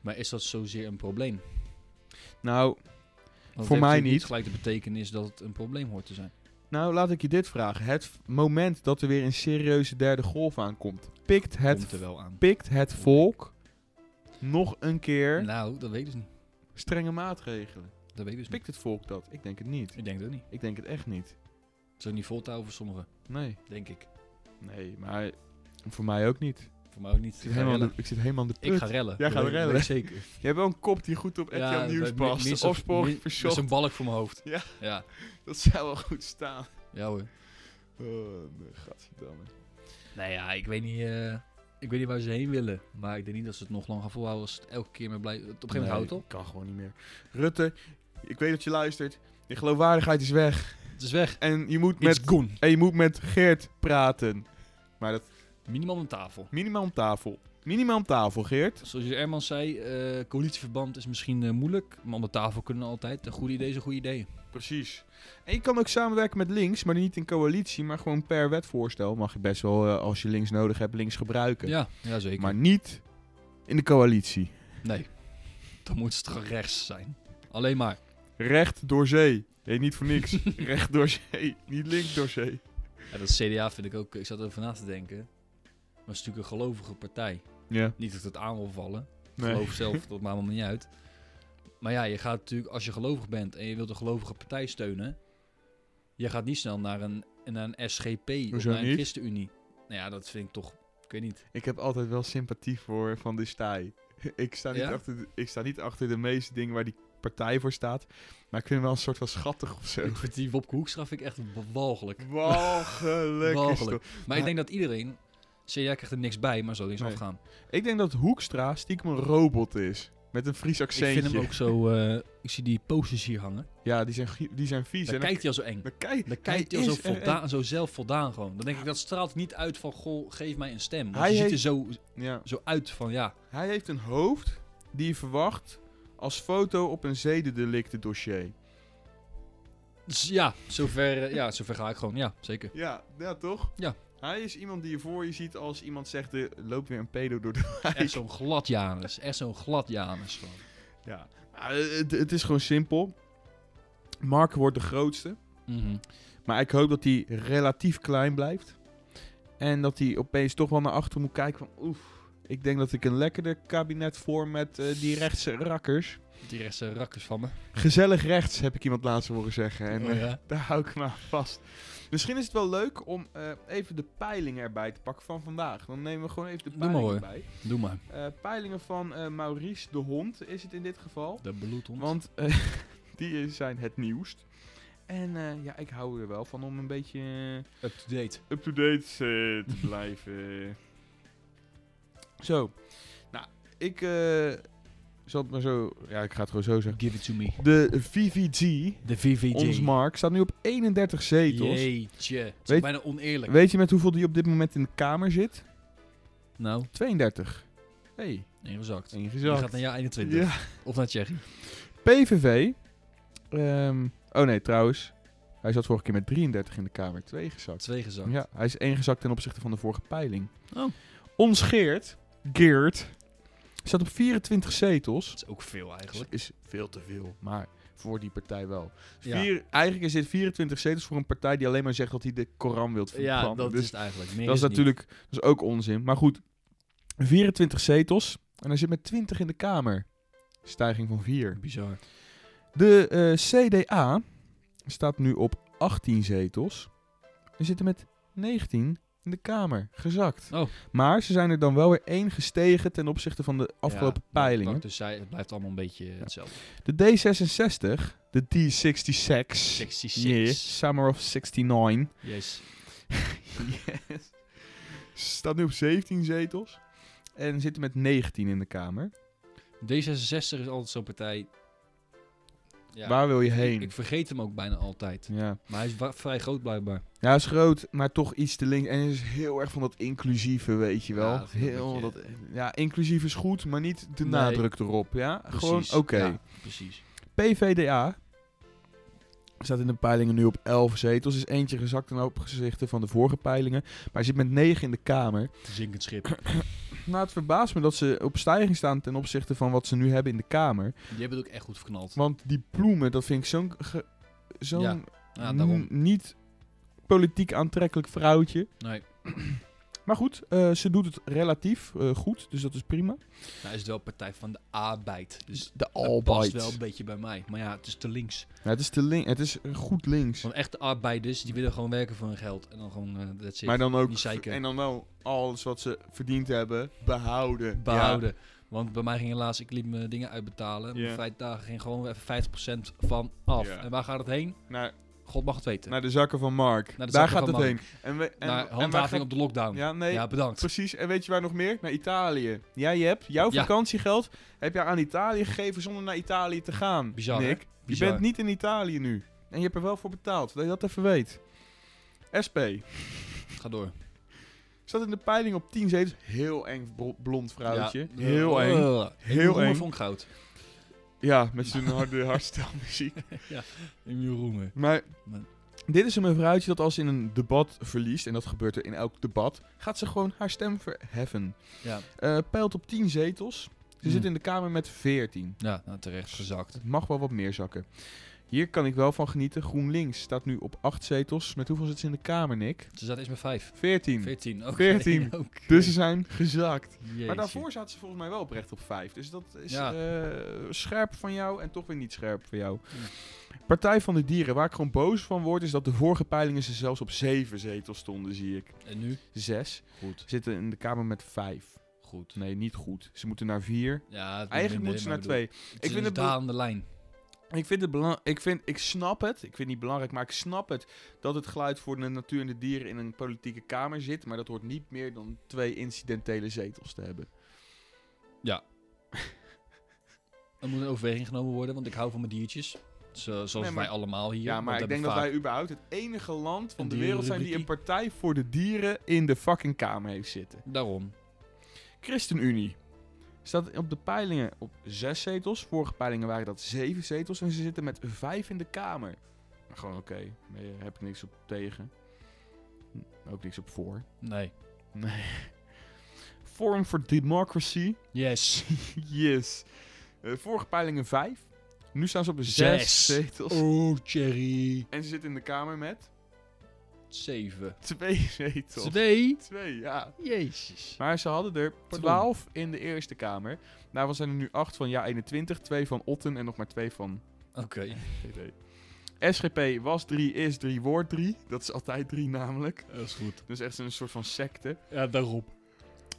Maar is dat zozeer een probleem? Want
nou,
het
Voor
heeft
mij
ook
niet.
gelijk de betekenis dat het een probleem hoort te zijn.
nou, laat ik je dit vragen. Het f- moment dat er weer een serieuze derde golf aankomt, pikt het,
Komt er wel aan.
pikt het volk nog een keer
Nou, dat weten ze niet.
strenge maatregelen.
Dat weten ze niet.
Pikt het volk dat? Ik denk het niet.
Ik denk het ook niet.
Ik denk het echt niet.
Het is ook niet vol te houden voor sommigen,
Nee.
denk ik.
Nee, maar voor mij ook niet.
Voor mij ook
Ik
niet. Ik
zit
ga
helemaal aan de,
rellen.
ik zit helemaal aan de put.
Ik ga rellen.
Jij gaat
Dat weet-
rellen.
weet ik Zeker.
Je hebt wel een kop die goed op RTL
Ja,
Nieuws
met- met-
past.
met-
De opsporing
met- Met
verzocht.
zo'n balk voor mijn hoofd.
Ja.
Ja,
Dat zou wel goed staan.
ja hoor.
Oh, nee, gadverdamme.
Nou ja, ik weet niet, eh, ik weet niet waar ze heen willen. Maar ik denk niet dat ze het nog lang gaan volhouden als het elke keer maar blijft. Op een gegeven moment houdt het op.
Kan gewoon niet meer. Rutte, ik weet dat je luistert. Je geloofwaardigheid is weg.
Het is weg.
En je moet
It's
met,
gone.
en je moet met Geert praten. Maar dat
Minimaal aan tafel.
minimaal om tafel. Minimaal om tafel, Geert.
Zoals je Ermans zei, eh, coalitieverband is misschien eh, moeilijk. Maar om de tafel kunnen altijd. Een goed idee is een goed idee.
Precies. En je kan ook samenwerken met links, maar niet in coalitie, maar gewoon per wetvoorstel mag je best wel, eh, als je links nodig hebt, links gebruiken.
Ja, ja zeker.
Maar niet in de coalitie.
Nee, dan moet het toch rechts zijn. Alleen maar.
Recht door zee. Nee, niet voor niks. Recht door zee. Niet links door zee.
Ja, dat CDA vind ik ook, ik zat erover na te denken. Maar het is natuurlijk een gelovige partij.
Ja.
Niet dat ik het aan wil vallen. Ik
Nee.
geloof zelf, dat maakt me niet uit. Maar ja, je gaat natuurlijk, als je gelovig bent en je wilt een gelovige partij steunen, je gaat niet snel naar een, naar een SGP of
Hoezo
naar een
niet?
ChristenUnie. Nou ja, dat vind ik toch, ik weet niet.
Ik heb altijd wel sympathie voor Van de Staaij. Ik sta, niet
Ja?
achter de, ik sta niet achter de meeste dingen waar die partij voor staat, maar ik vind hem wel een soort van schattig of zo.
Ik vind die Wopke Hoekstra vind ik echt walgelijk.
Walgelijk. is
Walgelijk.
dat.
Maar ik denk dat iedereen, CDA krijgt er niks bij, maar zal er eens
Nee.
afgaan.
Ik denk dat Hoekstra stiekem een robot is. Met een Fries
Ik vind hem
accentje.
ook zo... eh, ik zie die posters hier hangen.
Ja, die zijn, gie- die zijn vies.
Daar
en dan-
kijkt hij al zo eng.
dan kijk-
Dan kijkt hij al
is er
zo,
een-
voldaan, zo zelfvoldaan gewoon. Dan denk ik, dat straalt niet uit van... Goh, geef mij een stem. Want
Hij
je ziet er
heeft-
zo,
Ja.
zo uit van... Ja,
Hij heeft een hoofd die je verwacht als foto op een zedendelictendossier.
dus ja, zover, eh, ja, zover ga ik gewoon. Ja, zeker.
Ja, ja toch?
Ja.
Hij is iemand die je voor je ziet als iemand zegt, eh, loop weer een pedo door de
Echt zo'n glad Janus. Echt zo'n glad Janus gewoon.
Ja. Maar, eh, het, het is gewoon simpel. Mark wordt de grootste.
Mhm.
Maar ik hoop dat hij relatief klein blijft. En dat hij opeens toch wel naar achter moet kijken van... Oef, ik denk dat ik een lekkerder kabinet vorm met eh, die rechtse rakkers.
Die rechtse rakkers van me.
Gezellig rechts, heb ik iemand laatst horen zeggen. En
Oh
eh,
ja.
daar hou ik me aan vast. Misschien is het wel leuk om eh, even de peilingen erbij te pakken van vandaag. Dan nemen we gewoon even de
Doe maar
peilingen
hoor.
bij.
Doe maar.
Eh, peilingen van eh, Maurice de Hond is het in dit geval.
De bloedhond.
Want eh, die zijn het nieuwst. En eh, ja, ik hou er wel van om een beetje eh,
Up-to-date.
up-to-date eh, te blijven. Zo. Nou, ik eh, zal het maar zo... Ja, ik ga het gewoon zo zeggen.
Give it to me.
De VVG,
De VVD.
ons Mark, staat nu op 31 zetels.
Jeetje. Het is
Weet-
bijna oneerlijk.
Weet je met hoeveel die op dit moment in de kamer zit?
nou,
32. hey,
ingezakt. Die
ingezakt.
gaat naar jaar 21.
Ja.
Of naar Tsjechië.
PVV. ehm, oh nee, trouwens. Hij zat vorige keer met 33 in de kamer. Twee gezakt.
Twee gezakt.
Ja, hij is één gezakt ten opzichte van de vorige peiling.
Oh.
Ons Geert, Geert, staat op 24 zetels.
Dat is ook veel
Dat
eigenlijk.
is veel te veel, maar voor die partij wel.
Ja.
Vier, eigenlijk is dit 24 zetels voor een partij die alleen maar zegt dat hij de Koran wilt verbranden.
Ja, dat
Dus
is het eigenlijk. Meer
dat is
het niet.
natuurlijk dat is ook onzin. Maar goed, 24 zetels en hij zit met 20 in de Kamer. Stijging van 4.
bizar.
De eh, CDA staat nu op 18 zetels. We zitten met 19 in de Kamer, gezakt.
Oh.
Maar ze zijn er dan wel weer één gestegen ten opzichte van de afgelopen
Ja,
peilingen.
Dus zij, het blijft allemaal een beetje hetzelfde.
De D66, de D66,
66.
yeah, Summer of 69,
Yes.
yes. staat nu op 17 zetels. En zitten met 19 in de Kamer.
D66 is altijd zo'n partij. Ja.
Waar wil je
Ik,
heen?
ik vergeet hem ook bijna altijd.
ja.
Maar hij is wa- vrij groot blijkbaar.
ja, hij Nou, is groot, maar toch iets te links. En hij is heel erg van dat inclusieve, weet je wel.
Ja, dat vind ik
heel
een
dat,
beetje-
ja, inclusief is goed, maar niet de
Nee.
nadruk erop. Ja, gewoon
Precies.
oké.
Ja, precies.
PVDA staat in de peilingen nu op 11 zetels. Is eentje gezakt ten opzichte van de vorige peilingen. Maar hij zit met 9 in de Kamer.
Zinkend schip.
Nou, het verbaast me dat ze op stijging staan ten opzichte van wat ze nu hebben in de Kamer.
Die hebben het ook echt goed verknald.
Want die ploemen, dat vind ik zo'n ge- zo'n
Ja, Ja, daarom.
n- niet politiek aantrekkelijk vrouwtje.
Nee.
Maar goed, eh, ze doet het relatief eh, goed, dus dat is prima.
Nou, hij is wel partij van de arbeid. Dus
de
dat past wel
Albite.
een beetje bij mij. Maar ja, het is te links.
Ja, het is te link, het is eh, goed links.
Want echte arbeiders, die willen gewoon werken voor hun geld. En dan gewoon, eh, that's it.
Maar dan ook
Niet zeiken.
en dan wel alles wat ze verdiend hebben behouden.
behouden. Want bij mij ging helaas, ik liet mijn dingen uitbetalen.
Ja.
Mijn vrijdagen ging gewoon weer even 50% van af.
Ja.
En waar gaat het heen?
Ja, naar,
God mag het weten.
naar de zakken van Mark.
Naar de
Daar gaat
zakken
het
van
heen. En we, en,
Naar
en waar
handhaving
gaat-
op de lockdown. Ja,
Ja, nee.
bedankt.
Precies, en weet je waar nog meer? Naar Italië. Ja, je hebt jouw
Ja.
vakantiegeld heb jij aan Italië gegeven zonder naar Italië te gaan.
Bizar, hè?
Nick. Je
Bizar.
bent niet in Italië nu. En je hebt er wel voor betaald, dat je dat even weet. SP
Ga door.
zat in de peiling op 10 zetels. Heel eng bro- blond vrouwtje. Heel
erg.
eng. Heel
Roemer
eng.
vond ik goud.
Ja, met zijn harde hardstijlmuziek.
In mijn roemer.
Maar
Maar-
dit is een mevrouwtje dat als ze in een debat verliest, en dat gebeurt er in elk debat, gaat ze gewoon haar stem verheffen.
Ja,
Eh peilt op 10 zetels. Ze
Hmm.
zit in de Kamer met 14.
ja nou, terecht gezakt.
Het mag wel wat meer zakken. Hier kan ik wel van genieten. GroenLinks staat nu op 8 zetels. Met hoeveel zit ze in de Kamer, Nick?
Ze zaten eerst met vijf.
14.
14. Oké.
14.
Oké.
Dus ze zijn gezakt.
Jeetje.
Maar daarvoor zaten ze volgens mij wel oprecht op 5. Dus dat is
Ja.
eh, scherp van jou en toch weer niet scherp van jou.
Hmm.
Partij van de Dieren, waar ik gewoon boos van word, is dat de vorige peilingen ze zelfs op 7 zetels stonden, zie ik.
En nu?
6
Goed.
zitten in de Kamer met 5.
Goed.
Nee, niet goed. Ze moeten naar 4.
Ja, het
Eigenlijk
minder,
moeten ze
maar
naar 2.
bedoel,
vind
Het is
het
een
bela-
dalende lijn.
Ik vind het belangrijk. Ik, vind, ik snap het. Ik vind het niet belangrijk, maar ik snap het. Dat het geluid voor de natuur en de dieren in een politieke kamer zit. Maar dat hoort niet meer dan twee incidentele zetels te hebben.
Er moet een overweging genomen worden, want ik hou van mijn diertjes. Zo, zoals
Nee, maar-
wij allemaal hier.
Ja,
want
maar
we
ik denk dat
hebben
wij überhaupt het enige land van
Een
de wereld zijn die een
dierenrubriekie.
partij voor de dieren in de fucking Kamer heeft zitten.
vaak- Daarom.
ChristenUnie staat op de peilingen op zes zetels. Vorige peilingen waren dat zeven zetels en ze zitten met vijf in de Kamer. Maar gewoon oké, daar heb ik niks op tegen. Hm, Ook niks op voor.
Nee.
Nee. Forum for Democracy.
Yes.
Yes. Eh, vorige peilingen vijf. Nu staan ze op zes,
Zes.
zetels.
Oh, Cherry.
En ze zitten in de Kamer met
Zeven.
twee zetels.
Twee.
Twee, ja.
Jezus.
Maar ze hadden er
Pardon.
12 in de Eerste Kamer. Daarvan zijn er nu 8 van ja 21, 2 van Otten en nog maar 2 van
Oké.
GD. SGP was 3, is 3, wordt 3. Dat is altijd 3 namelijk.
Dat is goed.
Dus echt een soort van secte.
Ja, daarop.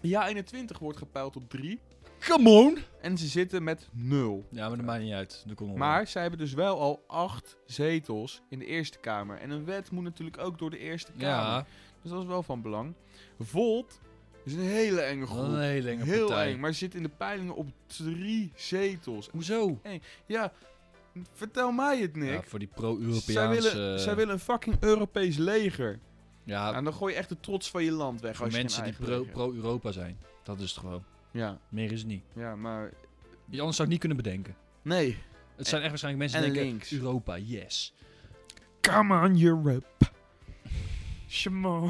Ja 21 wordt gepeild op 3
Come on.
en ze zitten met 0.
Ja, maar dat maakt niet uit. Dat komt wel.
Maar zij hebben dus wel al 8 zetels in de Eerste Kamer. En een wet moet natuurlijk ook door de Eerste Kamer.
Ja.
Dus dat is wel van belang. Volt is een hele enge
Wat een
groep.
hele enge
Heel
partij.
eng, maar ze zitten in de peilingen op 3 zetels.
Hoezo?
Ja, vertel mij het, Nick.
Ja, voor die
zij,
pro-Europeaanse...
willen, zij willen een fucking Europees leger.
Ja,
en dan gooi je echt de trots van je land weg.
voor
als je
mensen
geen
die
eigen
pro-
leger hebt.
pro-Europa zijn. Dat is het gewoon.
Ja,
Meer is het niet.
ja, maar...
Die anders zou ik niet kunnen bedenken.
Nee.
Het zijn echt waarschijnlijk mensen
en
die denken...
links.
Europa, yes.
Come on, Europe. Shamo.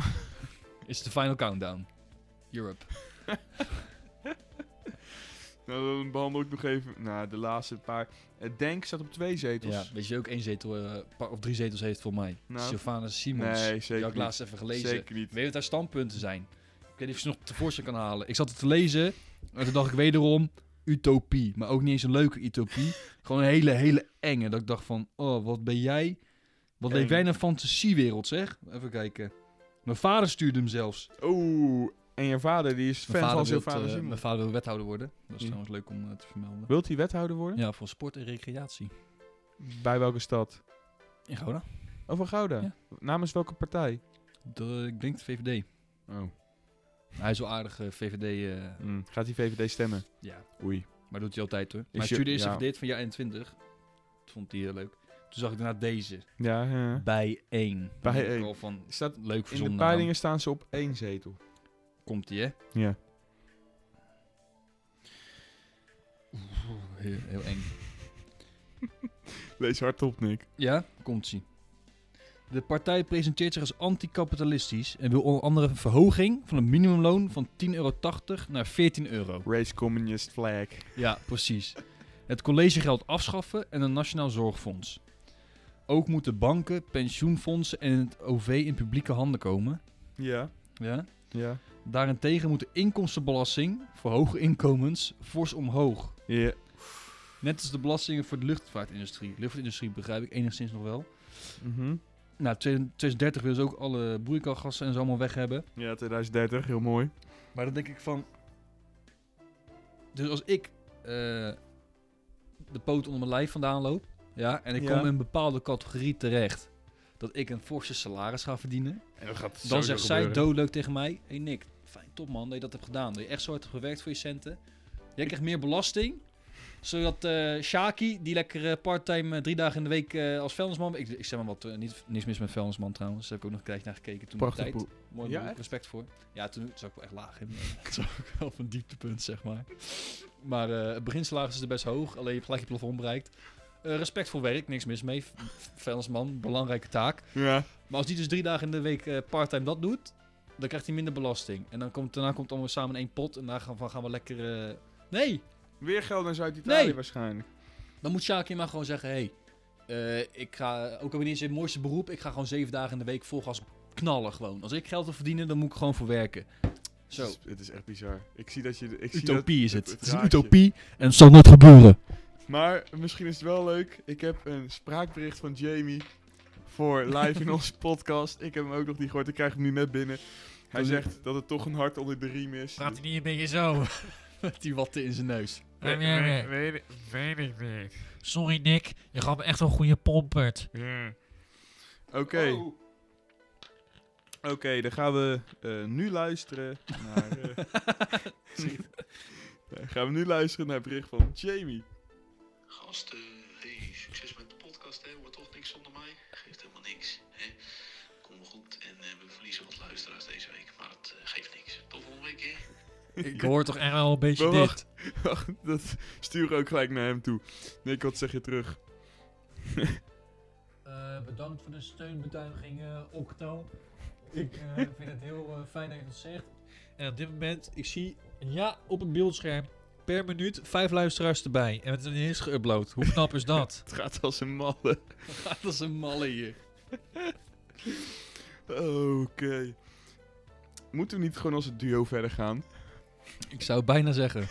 Is de final countdown. Europe.
Nou, dan behandel ik nog even... Nou, de laatste paar. Eh, Denk staat op twee zetels.
Ja, weet je wie ook één zetel eh, pa- of drie zetels heeft voor mij?
Nou.
Sylvanus Simons.
nee,
die
zeker
had ik
niet.
laatst even gelezen.
Zeker niet.
Weet je wat haar standpunten zijn? Ik weet niet of je ze nog tevoorschijn kan halen. Ik zat het te lezen en toen dacht ik wederom... Utopie. Maar ook niet eens een leuke utopie. Gewoon een hele, hele enge. Dat ik dacht van... Oh, wat ben jij... Wat
Eng.
leef jij in een fantasiewereld, zeg. Even kijken. Mijn vader stuurde hem zelfs.
Oeh, en je vader die is fan
Mijn vader,
van
wil eh,
Sylvana Simons.
mijn vader wil wethouder worden. Dat is
Ja.
trouwens leuk om eh, te vermelden.
Wilt hij wethouder worden?
Ja, voor sport en recreatie.
Bij welke stad?
In Gouda?
Oh, van Gouda.
Ja.
Namens welke partij?
De, ik denk de VVD.
Oh.
Hij is wel aardig eh, VVD. eh,
Mm. Gaat hij VVD stemmen?
ja,
Oei.
maar doet hij altijd hoor.
je-
Mijn studie is
ja.
even dit van jaar 21. Dat vond hij heel leuk. Toen zag ik daarna deze.
Ja, ja.
Bij 1.
Bijeen.
Al van,
Staat,
leuk
in de
verzonnen. naam.
peilingen staan ze op één zetel.
Komt hij hè?
Ja.
Oeh, heel, heel eng.
Lees hardop, Nick.
Ja, komt ie. De partij presenteert zich als anticapitalistisch en wil onder andere een verhoging van het minimumloon van 10,80 euro naar 14 euro.
Race communist flag.
Ja, precies. Het collegegeld afschaffen en een nationaal zorgfonds. Ook moeten banken, pensioenfondsen en het OV in publieke handen komen.
Ja.
Ja?
Ja.
Daarentegen moet de inkomstenbelasting voor hoge inkomens fors omhoog.
Ja.
Net als de belastingen voor de luchtvaartindustrie. Luchtvaartindustrie begrijp ik enigszins nog wel.
Mhm.
Nou, 2030 willen ze ook alle broeikasgassen en zo allemaal weg hebben.
Ja, 2030, heel mooi.
Maar dan denk ik van. Dus als ik eh, de poot onder mijn lijf vandaan loop. Ja, en ik
Ja.
kom in een bepaalde categorie terecht. Dat ik een forse salaris ga verdienen.
En dat gaat
Dan zegt zij doodleuk tegen mij. Hé hey Nick, fijn top man dat je dat hebt gedaan. Dat je echt zo hard hebt gewerkt voor je centen. Jij krijgt meer belasting. Zodat eh Shaki, die lekker eh, parttime eh, drie dagen in de week eh, als vuilnisman... Ik, ik zeg maar wat, eh, niet, niks mis met vuilnisman trouwens. Daar heb ik ook nog een tijdje naar gekeken toen de
Prachtig
tijd.
boek.
Mooi
Ja,
beroep,
echt?
respect voor. Ja, toen zat ik wel echt laag in. Het was ook wel op een dieptepunt, zeg maar. Maar eh, het beginsalaris is er best hoog, alleen je hebt gelijk je plafond bereikt. Eh respect voor werk, niks mis mee. V- Vuilnisman, belangrijke taak.
Ja.
Maar als die dus drie dagen in de week eh parttime dat doet, dan krijgt hij minder belasting. En dan komt, daarna komt het allemaal samen in één pot en daar gaan, van gaan we lekker... eh, Nee,
Weer geld naar Zuid-Italië
Nee.
waarschijnlijk.
dan moet Shaki maar gewoon zeggen, hé, hey, eh, ik ga, ook al ben ik niet eens in het mooiste beroep, ik ga gewoon zeven dagen in de week vol gas knallen gewoon. Als ik geld wil verdienen, dan moet ik gewoon voor werken. Zo.
Het is, het is echt bizar. Ik zie dat je... Ik zie dat-
Utopie is het.
het
Het is een
raadje.
utopie en het zal nooit gebeuren.
Maar misschien is het wel leuk. Ik heb een spraakbericht van Jamie voor live in onze podcast. Ik heb hem ook nog niet gehoord. Ik krijg hem nu net binnen. Hij
Doe-
zegt dat het toch een hart onder de riem is.
Praat hij niet een beetje zo?
Met die watten in zijn neus.
Nee,
Weet,
nee, nee.
weet, weet, weet ik niet.
Sorry Nick, je gaf me echt een goede pompert.
Ja.
Oké, oké, dan gaan we eh, nu luisteren naar... eh, dan gaan we nu luisteren naar het bericht van Jamie.
Gasten, hey, succes met de podcast, hè. Wordt toch niks zonder mij? Geeft helemaal niks, hè. Kom wel goed en eh, we verliezen wat luisteraars deze week, maar dat eh, geeft niks. Tot volgende week, hè.
Ik hoor toch echt wel een beetje
Maar
dit.
wacht. Ach, dat stuur ook gelijk naar hem toe. Nick, wat zeg je terug?
Eh, bedankt voor de steunbetuiging, eh, Octo. Ik eh, vind het heel eh, fijn dat je dat zegt. En op dit moment, ik zie ja op het beeldscherm per minuut vijf luisteraars erbij. En het is niet eens geüpload. Hoe knap is dat?
Het gaat als een malle.
Dat is een malle hier.
Oké. Moeten we niet gewoon als het duo verder gaan?
Ik zou bijna zeggen.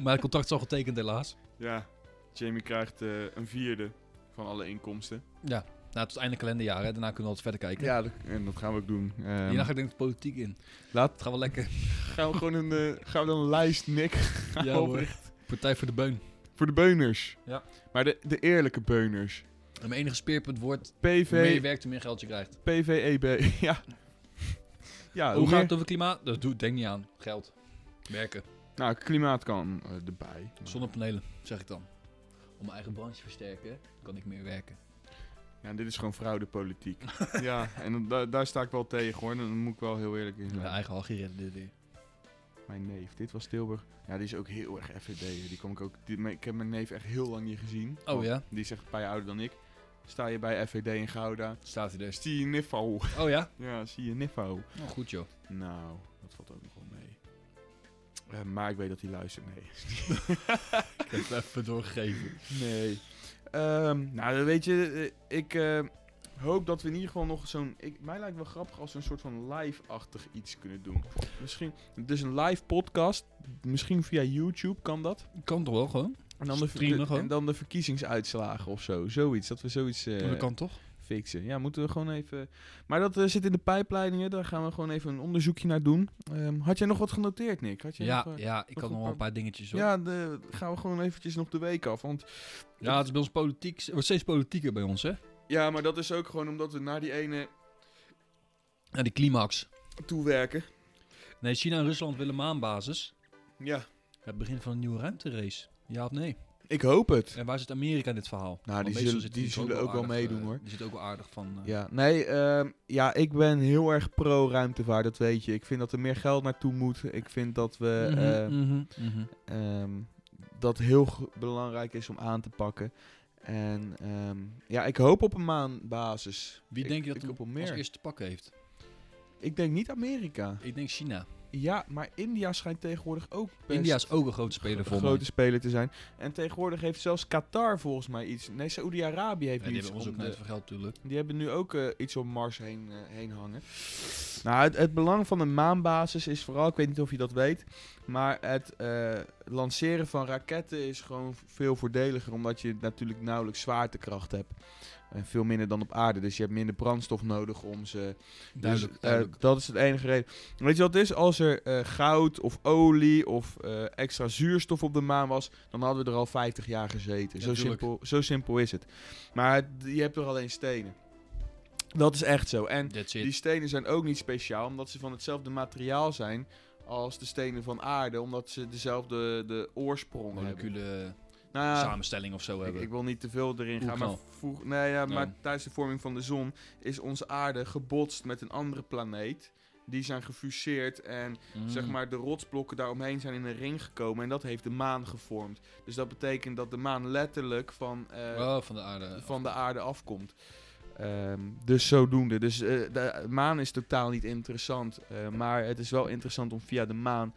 Maar het contract is al getekend helaas.
Ja, Jamie krijgt eh, een vierde van alle inkomsten.
Ja, nou, tot einde kalenderjaar. Hè. Daarna kunnen we altijd verder kijken.
Ja, dat- en dat gaan we ook doen. Ehm,
Hierna ga ik denk ik de politiek in.
Laat-
Het gaat wel lekker.
gaan we gewoon een, eh, gaan we dan een lijst, Nick, gaan
Ja, hoor.
oprichten.
Partij voor de Beun.
Voor de beuners.
Ja.
Maar de, de eerlijke beuners.
En mijn enige speerpunt wordt, hoe meer je
PV,
werkt, hoe meer geld je krijgt.
PVEB. E Ja. Ja,
Ah, hoe gaat
meer-
het over klimaat? Dat doe, denk niet aan. Geld. Werken.
Nou, klimaat kan eh, erbij.
Zonnepanelen, zeg ik dan. Om mijn eigen branche te versterken, kan ik meer werken.
Ja, dit is gewoon fraudepolitiek. ja, en dan- da- daar sta ik wel tegen hoor. Dan moet ik wel heel eerlijk in zijn.
Mijn eigen hachje redden dit weer.
Mijn neef, dit was Tilburg. Ja, die is ook heel erg FVD. Die kom ik ook. die- mijn- ik heb mijn neef echt heel lang niet gezien.
Oh ja,
Die is echt een paar jaar ouder dan ik. Sta je bij FVD in Gouda?
staat hij dus.
Zie je Niffo.
Oh ja?
Ja, zie je Niffo.
Nou, goed joh.
Nou, dat valt ook nog wel mee. Eh, maar ik weet dat hij luistert. Nee.
Ik heb het even doorgegeven.
Nee. Ehm, nou, dan weet je, eh, ik eh, hoop dat we in ieder geval nog zo'n... ik- Mij lijkt wel grappig als we een soort van live-achtig iets kunnen doen. Misschien, dus een live podcast, misschien via YouTube kan dat.
Kan toch wel gewoon?
En dan de,
Streamen
de-
gewoon.
en dan de verkiezingsuitslagen of zo, zoiets. Dat we zoiets eh,
dat kan toch?
fixen. Ja, moeten we gewoon even... Maar dat eh, zit in de pijpleidingen, daar gaan we gewoon even een onderzoekje naar doen. Ehm, had jij nog wat genoteerd, Nick? Had jij
Ja,
nog, eh,
ja, ik had nog wel een paar dingetjes hoor.
Ja, de, gaan we gewoon eventjes nog de week af, want...
Ja, het is bij ons politiek. Het wordt steeds politieker bij ons, hè?
Ja, maar dat is ook gewoon omdat we naar die ene
En die climax.
toewerken.
Nee, China en Rusland willen maanbasis.
Ja.
Het begin van een nieuwe ruimterace. Ja of nee?
Ik hoop het.
En waar zit Amerika in dit verhaal? Want
Nou, die
meestal
zullen-
zit
die
natuurlijk
zullen ook wel
aardig,
meedoen,
eh,
hoor.
Die zit ook wel aardig van. eh,
Ja, nee, ehm, ja, ik ben heel erg pro ruimtevaart, dat weet je. Ik vind dat er meer geld naartoe moet. Ik vind dat we
mhm,
eh,
mhm, mhm.
ehm, dat heel g- belangrijk is om aan te pakken. En ehm, ja, ik hoop op een maanbasis.
Wie
ik,
denk je dat
ik
hem
hoop op
als
meer?
eerste te pakken heeft?
Ik denk niet Amerika.
Ik denk China.
Ja, maar India schijnt tegenwoordig ook best
India is ook een grote speler voor
een
me.
grote speler te zijn. En tegenwoordig heeft zelfs Qatar volgens mij iets. Nee, Saoedi-Arabië
Ja,
heeft
die
iets
hebben ons
om
ook
de-
net voor geld, natuurlijk.
Die hebben nu ook eh, iets om Mars heen, eh, heen hangen. Nou, het, het belang van een maanbasis is vooral, ik weet niet of je dat weet, maar het eh, lanceren van raketten is gewoon veel voordeliger, omdat je natuurlijk nauwelijks zwaartekracht hebt. En veel minder dan op aarde, dus je hebt minder brandstof nodig om ze...
Duidelijk,
dus, eh,
duidelijk.
dat is het enige reden. Weet je wat het is? Als er eh, goud of olie of eh, extra zuurstof op de maan was, dan hadden we er al 50 jaar gezeten.
Ja,
zo,
tuurlijk.
simpel, zo simpel is het. Maar het- je hebt er alleen stenen. Dat is echt zo. En
That's
die
it.
stenen zijn ook niet speciaal, omdat ze van hetzelfde materiaal zijn als de stenen van aarde, omdat ze dezelfde de oorsprong hebben.
Moleculen
Nou, ja,
eh, samenstelling of zo
ik,
hebben.
ik wil niet te veel erin gaan, maar,
Oerknal.
vroeg, nee, ja,
Nee.
maar tijdens de vorming van de zon is onze aarde gebotst met een andere planeet. Die zijn gefuseerd en
Mm.
zeg maar de rotsblokken daaromheen zijn in een ring gekomen en dat heeft de maan gevormd. Dus dat betekent dat de maan letterlijk van eh,
Oh, van de aarde.
van de aarde afkomt. Ehm, dus zodoende. Dus eh, de maan is totaal niet interessant. eh, maar het is wel interessant om via de maan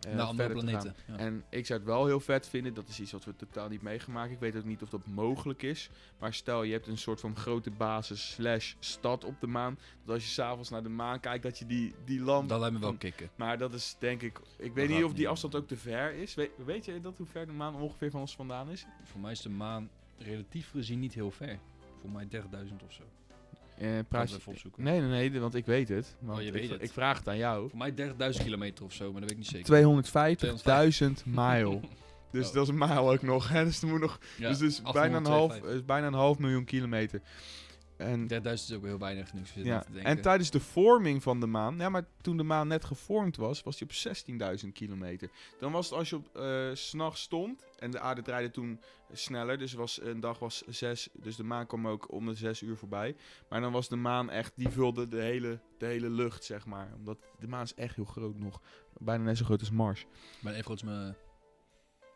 eh,
naar andere
verder te
planeten.
gaan.
Ja.
En ik zou het wel heel vet vinden. Dat is iets wat we totaal niet meegemaakt. Ik weet ook niet of dat mogelijk is. Maar stel, je hebt een soort van grote basis slash stad op de maan. Dat als je s'avonds naar de maan kijkt, dat je die, die lamp...
Dat lijkt me wel
van-
kicken.
Maar dat is denk ik... Ik weet
gaat
niet of
niet,
die
man.
afstand ook te ver is. Weet, weet je dat hoe ver de maan ongeveer van ons vandaan is?
Voor mij is de maan relatief gezien niet heel ver. Voor mij 30.000 of zo.
Eh
Kan
praat
ik
je,
even opzoeken. Oh,
Nee, nee, nee, want ik weet het. Want
je
ik,
weet het.
ik vraag het aan jou.
Voor mij 30.000 kilometer of zo, maar dat weet ik niet zeker.
250.000 mile. Dus
Oh.
dat is een mile ook nog. Hè? Dus er moet nog
Ja,
dus het is bijna, een half,
852.
het is bijna een half miljoen kilometer. Ehm, En
3000 is ook heel weinig nu. zit ik
Ja,
te denken.
en tijdens de vorming van de maan, ja, maar toen de maan net gevormd was, was die op 16.000 kilometer. Dan was het als je op eh, 's s'nachts stond, en de aarde draaide toen sneller, dus was, een dag was 6, dus de maan kwam ook om de 6 uur voorbij. Maar dan was de maan echt, die vulde de hele, de hele lucht, zeg maar. Omdat de maan is echt heel groot nog, bijna net zo groot als Mars.
Maar even goed, mijn...